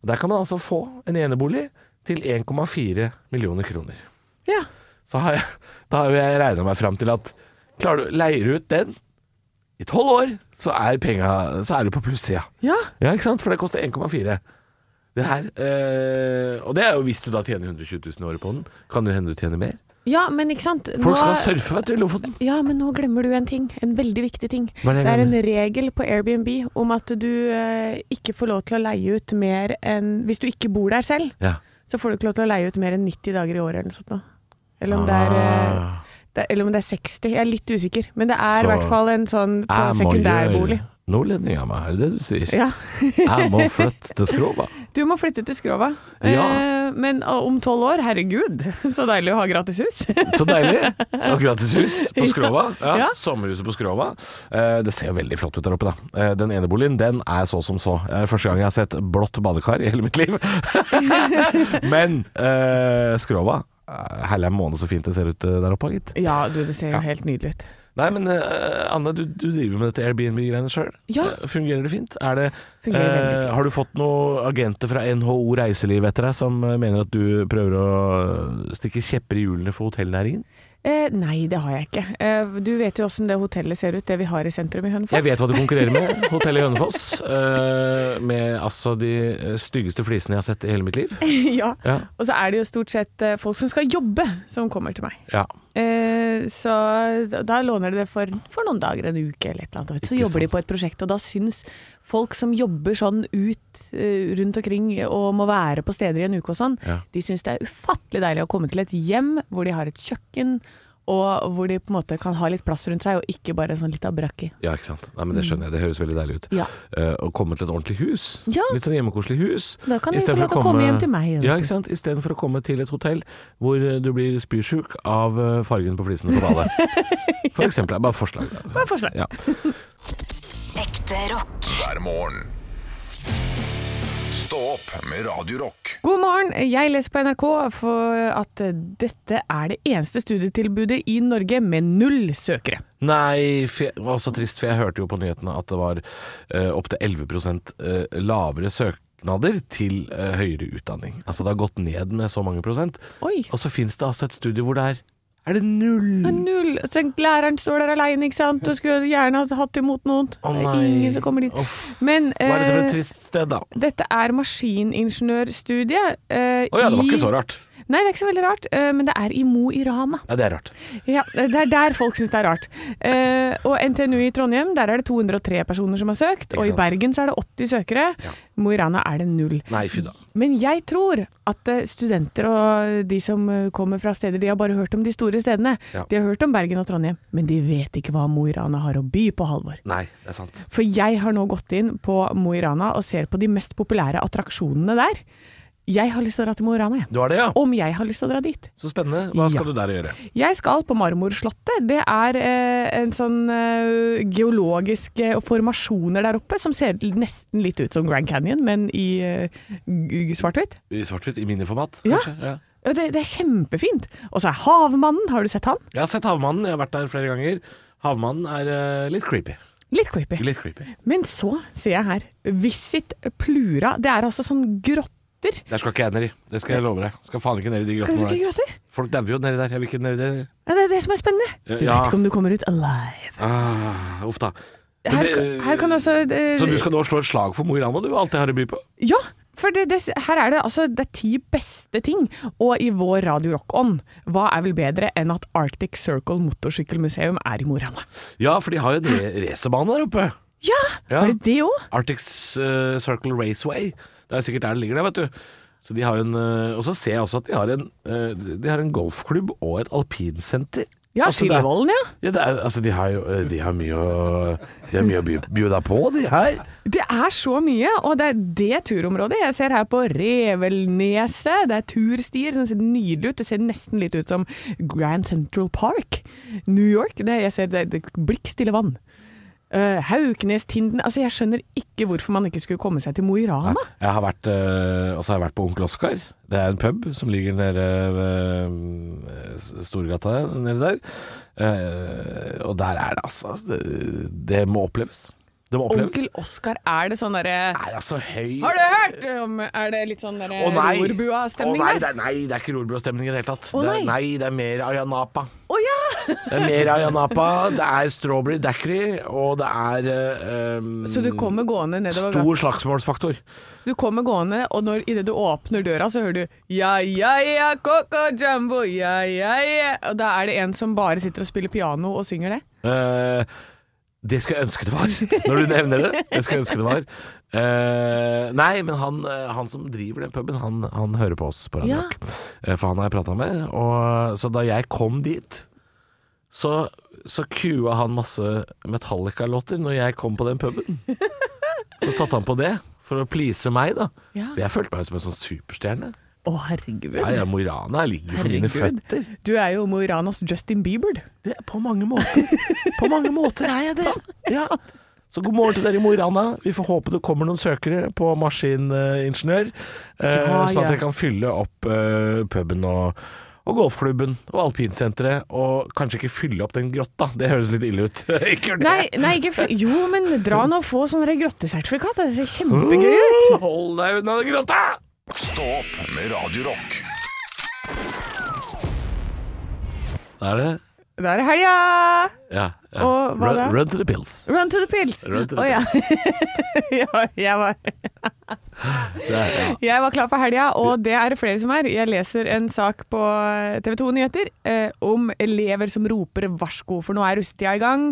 [SPEAKER 3] Og Der kan man altså få en enebolig til 1,4 millioner kroner.
[SPEAKER 4] Ja.
[SPEAKER 3] så har jeg, da har jeg regna meg fram til at klarer du, leier du ut den i tolv år, så er, penga, så er du på plussida.
[SPEAKER 4] ja.
[SPEAKER 3] Ja, ikke sant? For det koster 1,4. Det her, eh, Og det er jo hvis du da tjener 120 000 i året på den. Kan det hende du tjener mer?
[SPEAKER 4] Ja, men ikke sant
[SPEAKER 3] Folk skal surfe, vet du, i Lofoten.
[SPEAKER 4] Ja, men nå glemmer du en ting. En veldig viktig ting.
[SPEAKER 3] Hva er det jeg
[SPEAKER 4] det er en regel på Airbnb om at du eh, ikke får lov til å leie ut mer enn Hvis du ikke bor der selv,
[SPEAKER 3] Ja.
[SPEAKER 4] så får du ikke lov til å leie ut mer enn 90 dager i året eller noe sånt. nå. Eller om det er
[SPEAKER 3] Ah.
[SPEAKER 4] eh, det, Eller om det er 60. Jeg er litt usikker. Men det er i
[SPEAKER 3] Så-
[SPEAKER 4] hvert fall en sånn
[SPEAKER 3] Ah,
[SPEAKER 4] på sekundærbolig.
[SPEAKER 3] Nordlending av meg, er det det du sier?
[SPEAKER 4] Ja.
[SPEAKER 3] Jeg må flytte til Skrova.
[SPEAKER 4] Du må flytte til Skrova.
[SPEAKER 3] Ja.
[SPEAKER 4] Eh, men å, om tolv år, herregud, så deilig å ha gratis hus.
[SPEAKER 3] Så deilig. Og gratis hus på Skrova. Ja,
[SPEAKER 4] Ja.
[SPEAKER 3] Sommerhuset på Skrova. Eh, Det ser jo veldig flott ut der oppe, da. Eh, Den ene boligen, den er så som så. Eh, Første gang jeg har sett blått badekar i hele mitt liv. Men eh, Skrova eh, Herlig er måne så fint det ser ut eh, der oppe, gitt.
[SPEAKER 4] ja, du, det ser jo helt nydelig ut.
[SPEAKER 3] Nei, men eh, Anne, du, du driver med dette Airbnb-greiene sjøl.
[SPEAKER 4] Ja.
[SPEAKER 3] Fungerer det fint? Er det, eh,
[SPEAKER 4] Fungerer veldig fint.
[SPEAKER 3] Har du fått noen agenter fra NHO Reiseliv etter deg som eh, mener at du prøver å eh, stikke kjepper i hjulene for hotellnæringen?
[SPEAKER 4] Eh, nei, det har jeg ikke. Eh, du vet jo åssen det hotellet ser ut, det vi har i sentrum i Hønefoss.
[SPEAKER 3] Jeg vet hva du konkurrerer med. Hotellet Hønefoss. eh, med altså de eh, styggeste flisene jeg har sett i hele mitt liv.
[SPEAKER 4] ja.
[SPEAKER 3] Ja.
[SPEAKER 4] Og så er det jo stort sett eh, folk som skal jobbe, som kommer til meg.
[SPEAKER 3] ja.
[SPEAKER 4] Eh, så da- da låner de det for, for noen dager, en uke eller et eller annet. Så
[SPEAKER 3] Ikke
[SPEAKER 4] jobber de
[SPEAKER 3] sant.
[SPEAKER 4] på et prosjekt, og da syns folk som jobber sånn ut eh, rundt omkring og må være på steder i en uke og sånn,
[SPEAKER 3] Ja.
[SPEAKER 4] de syns det er ufattelig deilig å komme til et hjem hvor de har et kjøkken og hvor de på en måte kan ha litt plass rundt seg, og ikke bare sånn litt abrakki.
[SPEAKER 3] Ja, ikke sant. Nei, men Det skjønner jeg. Det høres veldig deilig ut.
[SPEAKER 4] Ja.
[SPEAKER 3] Eh, å komme til et ordentlig hus.
[SPEAKER 4] Ja.
[SPEAKER 3] Litt sånn hjemmekoselig hus.
[SPEAKER 4] Da kan de
[SPEAKER 3] I stedet
[SPEAKER 4] få
[SPEAKER 3] for
[SPEAKER 4] lov til å komme hjem til meg, vet
[SPEAKER 3] Ja,
[SPEAKER 4] du.
[SPEAKER 3] ikke sant. Istedenfor å komme til et hotell hvor eh, du blir spysjuk av eh, fargen på flisene på badet. For eksempel. Det er Bare forslag. da.
[SPEAKER 4] Bare forslag.
[SPEAKER 3] Ja.
[SPEAKER 1] Ekte rock.
[SPEAKER 2] hver morgen. Stå opp med Radio Rock.
[SPEAKER 4] God morgen, jeg leser på NRK for at dette er det eneste studietilbudet i Norge med null søkere.
[SPEAKER 3] Nei, for jeg- det var så trist, for jeg hørte jo på nyhetene at det var uh, opptil 11 eh, lavere søknader til eh, høyere utdanning. Altså det har gått ned med så mange prosent.
[SPEAKER 4] Oi.
[SPEAKER 3] Og så fins det altså et studie hvor det er Er det null?
[SPEAKER 4] Null! Så læreren står der aleine, ikke sant. Du skulle gjerne ha hatt imot noen.
[SPEAKER 3] Å,
[SPEAKER 4] det er
[SPEAKER 3] nei.
[SPEAKER 4] ingen som kommer dit.
[SPEAKER 3] Uff.
[SPEAKER 4] Men
[SPEAKER 3] Hva er dette for
[SPEAKER 4] eh,
[SPEAKER 3] et trist sted, da? Å
[SPEAKER 4] dette er maskiningeniørstudiet. eh,
[SPEAKER 3] ja, det var
[SPEAKER 4] i-
[SPEAKER 3] ikke så rart.
[SPEAKER 4] Nei, det er ikke så veldig rart. eh, men det er i Mo i Rana.
[SPEAKER 3] Ja, det er rart.
[SPEAKER 4] Ja, det er der folk syns det er rart. Eh, og NTNU i Trondheim, der er det 203 personer som har søkt. Og i
[SPEAKER 3] sant.
[SPEAKER 4] Bergen så er det 80 søkere. Mo i Rana er det null.
[SPEAKER 3] Nei, fy da.
[SPEAKER 4] Men jeg tror at eh, studenter og de som eh, kommer fra steder De har bare hørt om de store stedene.
[SPEAKER 3] Ja.
[SPEAKER 4] De har hørt om Bergen og Trondheim, men de vet ikke hva Mo i Rana har å by på, Halvor.
[SPEAKER 3] Nei, det er sant.
[SPEAKER 4] For jeg har nå gått inn på Mo i Rana og ser på de mest populære attraksjonene der. Jeg har lyst til å dra til Mo i Rana, jeg.
[SPEAKER 3] Du har det, ja?
[SPEAKER 4] Om jeg har lyst til å dra dit.
[SPEAKER 3] Så spennende. Hva skal
[SPEAKER 4] Ja.
[SPEAKER 3] du der gjøre?
[SPEAKER 4] Jeg skal på Marmorslottet. Det er eh, en sånn eh, geologiske formasjoner der oppe som ser nesten litt ut som Grand Canyon, men i eh, g- g- svart-hvitt.
[SPEAKER 3] I svart-hvitt? I miniformat,
[SPEAKER 4] Ja.
[SPEAKER 3] kanskje? Ja.
[SPEAKER 4] Ja, Det, det er kjempefint. Og så er Havmannen, har du sett han?
[SPEAKER 3] Jeg har sett Havmannen, jeg har vært der flere ganger. Havmannen er eh, litt creepy.
[SPEAKER 4] Litt creepy.
[SPEAKER 3] Litt creepy.
[SPEAKER 4] Men så ser jeg her Visit Plura. Det er altså sånn grotter.
[SPEAKER 3] Der skal ikke jeg ned i. Det skal jeg love deg. Skal faen ikke ned i de
[SPEAKER 4] Skal du
[SPEAKER 3] grottene
[SPEAKER 4] ikke
[SPEAKER 3] der.
[SPEAKER 4] grotter?
[SPEAKER 3] Folk dauer jo nedi der. Jeg vil ikke nedi der.
[SPEAKER 4] Ja, det er det som er spennende. Du vet
[SPEAKER 3] Ja.
[SPEAKER 4] ikke om du kommer ut alive.
[SPEAKER 3] Ah, uff da. Men
[SPEAKER 4] Her,
[SPEAKER 3] det-
[SPEAKER 4] her kan du også eh,
[SPEAKER 3] Så du skal nå slå et slag for Mo i Rana, du? Alt jeg har å by på?
[SPEAKER 4] Ja, for det, det, her er det altså det er ti beste ting. Og i vår Radio Rock-ånd, hva er vel bedre enn at Arctic Circle Motorsykkelmuseum er i Mo i Rana?
[SPEAKER 3] Ja, for de har jo en re- racerbane der oppe.
[SPEAKER 4] Ja,
[SPEAKER 3] Ja.
[SPEAKER 4] er det det òg?
[SPEAKER 3] Arctic eh, Circle Raceway. Det er sikkert der det ligger der, vet du. Så de har jo en eh, Og så ser jeg også at de har en, eh, de har en golfklubb og et alpinsenter.
[SPEAKER 4] Ja,
[SPEAKER 3] Altså, det er-
[SPEAKER 4] Skillevollen, ja.
[SPEAKER 3] Ja, det er, altså, de har jo eh, De har mye å, de har mye å by, by deg på, de her.
[SPEAKER 4] Det er så mye, og det er det turområdet. Jeg ser her på Revelneset. Det er turstier som ser nydelig ut. Det ser nesten litt ut som Grand Central Park, New York. Det, jeg ser det, det blikkstille vann. Uh, Hauknestinden Altså, jeg skjønner ikke hvorfor man ikke skulle komme seg til Mo i Rana.
[SPEAKER 3] Jeg har vært, eh, og så har jeg vært på Onkel Oskar. Det er en pub som ligger nede ved eh, S- Storgata nede der. Eh, og der er det altså Det, det må oppleves. Det må oppleves.
[SPEAKER 4] Onkel Oskar, er det sånn derre
[SPEAKER 3] er altså høy
[SPEAKER 4] Har du hørt om Er det litt sånn derre
[SPEAKER 3] Å nei! Å,
[SPEAKER 4] rorbua-stemning
[SPEAKER 3] nei, det
[SPEAKER 4] der?
[SPEAKER 3] er, nei, det er ikke rorbuastemning i det hele tatt.
[SPEAKER 4] Å,
[SPEAKER 3] det er,
[SPEAKER 4] nei.
[SPEAKER 3] nei, det er mer Ayanapa.
[SPEAKER 4] Å ja!
[SPEAKER 3] Det er mer Ayanapa, det er strawberry daiquiri, og det er eh, um,
[SPEAKER 4] Så du kommer gående nedover
[SPEAKER 3] Stor slagsmålsfaktor.
[SPEAKER 4] Du kommer gående, og når, idet du åpner døra, så hører du Ja, ja, ja, coco jumbo, ja, ja, ja Og da er det en som bare sitter og spiller piano og synger det.
[SPEAKER 3] Eh, det skulle jeg ønske det var, når du nevner det. Det skulle jeg ønske det var. Eh, nei, men han, eh, han som driver den puben, han, han hører på oss på Radio
[SPEAKER 4] Ja.
[SPEAKER 3] Rock. Eh, for han har jeg prata med. Og, så da jeg kom dit, så, så kua han masse Metallica-låter når jeg kom på den puben. Så satte han på det. For å please meg, da.
[SPEAKER 4] Ja.
[SPEAKER 3] Så jeg følte meg som en sånn superstjerne.
[SPEAKER 4] Å, herregud.
[SPEAKER 3] Ja, ja, Mo i Rana ligger for mine
[SPEAKER 4] Herregud.
[SPEAKER 3] føtter.
[SPEAKER 4] Du er jo Mo i Ranas Justin Bieber. du.
[SPEAKER 3] Det er på mange måter. På mange måter er jeg det. Ja. Så god morgen til dere i Mo i Rana. Vi får håpe det kommer noen søkere på maskiningeniør, eh,
[SPEAKER 4] Ja,
[SPEAKER 3] sånn
[SPEAKER 4] ja.
[SPEAKER 3] at dere kan fylle opp eh, puben og, og golfklubben og alpinsenteret. Og kanskje ikke fylle opp den grotta, det høres litt ille ut. ikke gjør det.
[SPEAKER 4] Nei, nei, ikke f Jo, men dra nå og få sånn der grottesertifikat. Det ser kjempegøy ut.
[SPEAKER 3] Hold deg unna den grotta!
[SPEAKER 2] Stå opp med Radio Rock.
[SPEAKER 3] Da er det
[SPEAKER 4] Da er det helga!
[SPEAKER 3] ja, ja.
[SPEAKER 4] Og hva
[SPEAKER 3] run,
[SPEAKER 4] da?
[SPEAKER 3] run to the pills.
[SPEAKER 4] Run to the pills.
[SPEAKER 3] Run to the
[SPEAKER 4] Å, ja. ja, jeg var
[SPEAKER 3] Det er, ja.
[SPEAKER 4] Jeg var klar for helga, og det er det flere som er. Jeg leser en sak på TV 2 Nyheter eh, om elever som roper varsko, for nå er russetida i gang.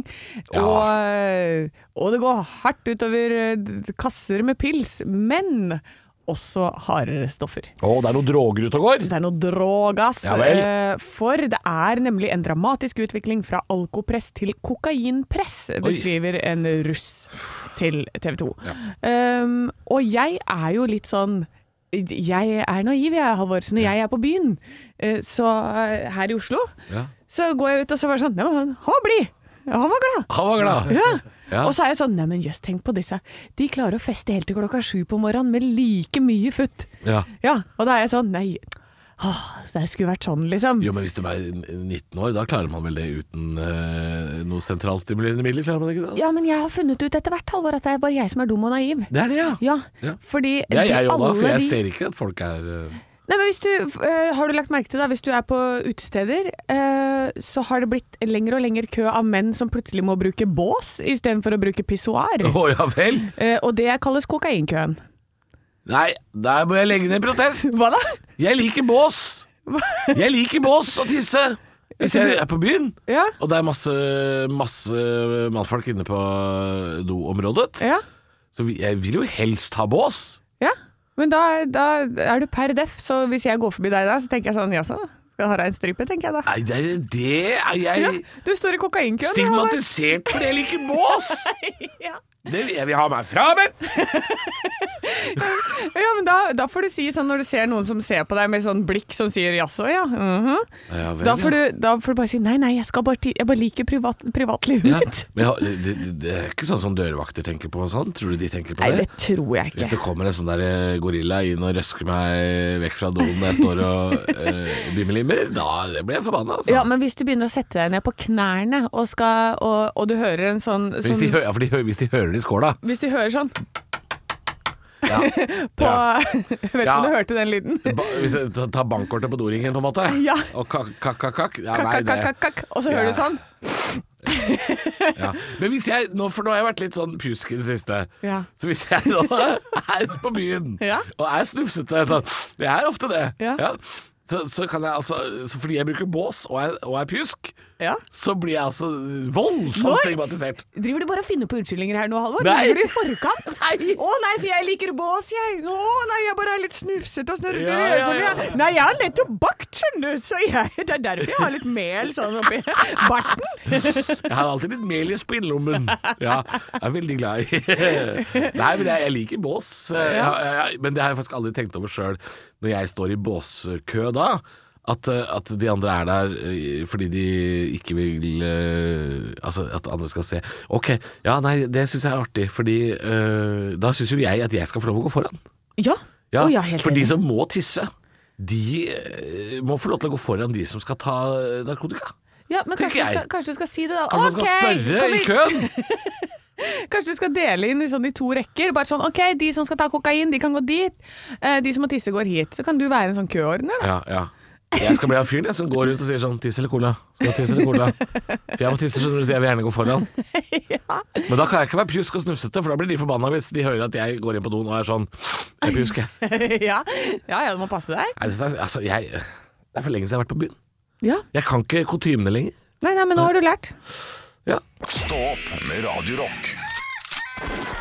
[SPEAKER 3] Ja.
[SPEAKER 4] eh, Og, og det går hardt utover eh, d- kasser med pils. Men også hardere stoffer.
[SPEAKER 3] Å, det er noe droger ute og går?
[SPEAKER 4] Det er noe drogas.
[SPEAKER 3] Ja vel.
[SPEAKER 4] eh, For det er nemlig en dramatisk utvikling fra alkopress til kokainpress, beskriver en russ til TV 2. Um, og jeg er jo litt sånn jeg er naiv, jeg, Halvor. Så når jeg er på byen, eh, så eh, her i Oslo,
[SPEAKER 3] Ja.
[SPEAKER 4] så går jeg ut og så var det sånn Nei, men han han var blid! Han var glad!
[SPEAKER 3] Han var glad.
[SPEAKER 4] Ja.
[SPEAKER 3] Ja.
[SPEAKER 4] Og så er jeg sånn, nei men jøss, tenk på disse. De klarer å feste helt til klokka sju på morgenen med like mye futt.
[SPEAKER 3] Ja.
[SPEAKER 4] og da er jeg sånn, nei, åh, det skulle vært sånn liksom.
[SPEAKER 3] Jo, men hvis du er 19 år, da klarer man vel det uten eh, noe sentralstimulerende midler? Klarer man ikke det?
[SPEAKER 4] Ja, men jeg har funnet ut etter hvert, Halvor, at det er bare jeg som er dum og naiv.
[SPEAKER 3] Det er det, ja.
[SPEAKER 4] Ja,
[SPEAKER 3] Ja.
[SPEAKER 4] fordi
[SPEAKER 3] Jeg
[SPEAKER 4] de
[SPEAKER 3] er jo da,
[SPEAKER 4] alle
[SPEAKER 3] for jeg
[SPEAKER 4] de-
[SPEAKER 3] ser ikke at folk er eh,
[SPEAKER 4] Nei, men hvis du, øh, har du lagt merke til da, hvis du er på utesteder, øh, så har det blitt lengre og lengre kø av menn som plutselig må bruke bås i stedet for å bruke pissoar.
[SPEAKER 3] Å ja vel?
[SPEAKER 4] Eh, og det kalles kokainkøen.
[SPEAKER 3] Nei, der må jeg legge ned protest.
[SPEAKER 4] Hva da?
[SPEAKER 3] Jeg liker bås. Jeg liker bås og tisse. Hvis jeg er på byen,
[SPEAKER 4] Ja,
[SPEAKER 3] og det er masse, masse mannfolk inne på eh, doområdet,
[SPEAKER 4] ja.
[SPEAKER 3] så vi- jeg vil jo helst ha bås.
[SPEAKER 4] Ja, men da, da er du per def, så hvis jeg går forbi deg da, så tenker jeg sånn, jaså, skal jeg ha deg en stripe, tenker jeg da.
[SPEAKER 3] Nei, det er, det er jeg
[SPEAKER 4] Ja, du står i kokainkøen.
[SPEAKER 3] stigmatisert fordi jeg liker bås.
[SPEAKER 4] Ja.
[SPEAKER 3] Det vil jeg vil ha meg frabedt.
[SPEAKER 4] Halvor. Ja, men da, da får du si sånn når du ser noen som ser på deg med sånn blikk som sier jaså, ja. mhm».
[SPEAKER 3] Ja, vel,
[SPEAKER 4] da, får
[SPEAKER 3] ja.
[SPEAKER 4] du, da får du bare si nei, nei, jeg, skal bare, ti- jeg bare liker privat, privatlivet
[SPEAKER 3] Ja,
[SPEAKER 4] mitt.
[SPEAKER 3] men jeg har- det, det, det er ikke sånn som dørvakter tenker på og sånn. Tror du de tenker på
[SPEAKER 4] Nei,
[SPEAKER 3] det?
[SPEAKER 4] det tror jeg
[SPEAKER 3] Hvis
[SPEAKER 4] ikke.
[SPEAKER 3] det kommer en sånn der eh, gorilla inn og røsker meg vekk fra doen når jeg står og eh, bimmelimmer, da blir jeg forbanna. Altså.
[SPEAKER 4] Ja, men hvis du begynner å sette deg ned på knærne, og, skal, og, og du hører en sånn...
[SPEAKER 3] hvis, de
[SPEAKER 4] sånn-
[SPEAKER 3] hø ja, for de hø hvis de hører det i skåla.
[SPEAKER 4] hvis de hører sånn
[SPEAKER 3] Ja.
[SPEAKER 4] på...
[SPEAKER 3] Ja.
[SPEAKER 4] Jeg vet ikke
[SPEAKER 3] Ja.
[SPEAKER 4] om du hørte den lyden.
[SPEAKER 3] Ba hvis jeg ta- tar bankkortet på doringen, på en måte,
[SPEAKER 4] Ja.
[SPEAKER 3] og kakk-kakk-kakk ja,
[SPEAKER 4] kakk,
[SPEAKER 3] nei,
[SPEAKER 4] kakk,
[SPEAKER 3] det-
[SPEAKER 4] kakk, kakk, og så
[SPEAKER 3] Ja.
[SPEAKER 4] hører du sånn.
[SPEAKER 3] Ja. Men hvis jeg, nå, for nå har jeg vært litt sånn pjusk i det siste,
[SPEAKER 4] Ja.
[SPEAKER 3] så hvis jeg nå er på byen
[SPEAKER 4] Ja.
[SPEAKER 3] og er snufsete, sånn, det er ofte det,
[SPEAKER 4] Ja.
[SPEAKER 3] så, så kan jeg altså, så fordi jeg bruker bås og er, og er pjusk,
[SPEAKER 4] Ja.
[SPEAKER 3] så blir jeg altså voldsomt
[SPEAKER 4] Når?
[SPEAKER 3] stigmatisert.
[SPEAKER 4] Driver du bare og finner på unnskyldninger her nå, Halvor?
[SPEAKER 3] Nei.
[SPEAKER 4] Ligger du i forkant?
[SPEAKER 3] Nei.
[SPEAKER 4] Å nei, for jeg liker bås, jeg. Å nei, jeg bare er litt snufsete og snurrete.
[SPEAKER 3] Ja,
[SPEAKER 4] i øyet
[SPEAKER 3] ja,
[SPEAKER 4] som
[SPEAKER 3] ja.
[SPEAKER 4] jeg- Nei, jeg har nettopp bakt, skjønner du, så jeg, det er derfor jeg har litt mel sånn oppi barten.
[SPEAKER 3] Jeg har alltid litt mel i spillommen. Ja, jeg er veldig glad i Nei, men jeg, jeg liker bås. Jeg, jeg, jeg, men det har jeg faktisk aldri tenkt over sjøl, når jeg står i båskø da. At, eh, at de andre er der eh, fordi de ikke vil eh, Altså, at andre skal se. Ok, ja, nei, det syns jeg er artig, fordi eh, da syns jo jeg at jeg skal få lov å gå foran.
[SPEAKER 4] Ja.
[SPEAKER 3] Ja,
[SPEAKER 4] Å, ja, helt
[SPEAKER 3] for de
[SPEAKER 4] enig.
[SPEAKER 3] som må tisse, de eh, må få lov til å gå foran de som skal ta eh, narkotika.
[SPEAKER 4] ja men
[SPEAKER 3] tenker
[SPEAKER 4] kanskje du,
[SPEAKER 3] jeg.
[SPEAKER 4] skal, kanskje du skal si det, da.
[SPEAKER 3] At man skal
[SPEAKER 4] Ok,
[SPEAKER 3] spørre
[SPEAKER 4] kan
[SPEAKER 3] i
[SPEAKER 4] vi-
[SPEAKER 3] køen.
[SPEAKER 4] Kanskje du skal dele inn i, sånn, i to rekker. Bare sånn, ok, De som skal ta kokain, de kan gå dit. Eh, De som må tisse, går hit. Så kan du være en sånn køordner, da.
[SPEAKER 3] Ja, ja. Jeg skal bli han fyren jeg, som går rundt og sier sånn Tiss eller cola? Skal du ha tiss eller cola? For jeg må tisse, skjønner du, så jeg vil gjerne gå foran. Men da kan jeg ikke være pjusk og snufsete, for da blir de forbanna hvis de hører at jeg går inn på doen og er sånn Jeg er pjusk, jeg.
[SPEAKER 4] Ja, ja, ja du må passe deg.
[SPEAKER 3] Nei, dette er- altså, jeg Det er for lenge siden jeg har vært på byen.
[SPEAKER 4] Ja.
[SPEAKER 3] Jeg kan ikke kutymene lenger.
[SPEAKER 4] Nei, nei, men nå har du lært.
[SPEAKER 3] Ja.
[SPEAKER 2] Stå opp med Radio Rock.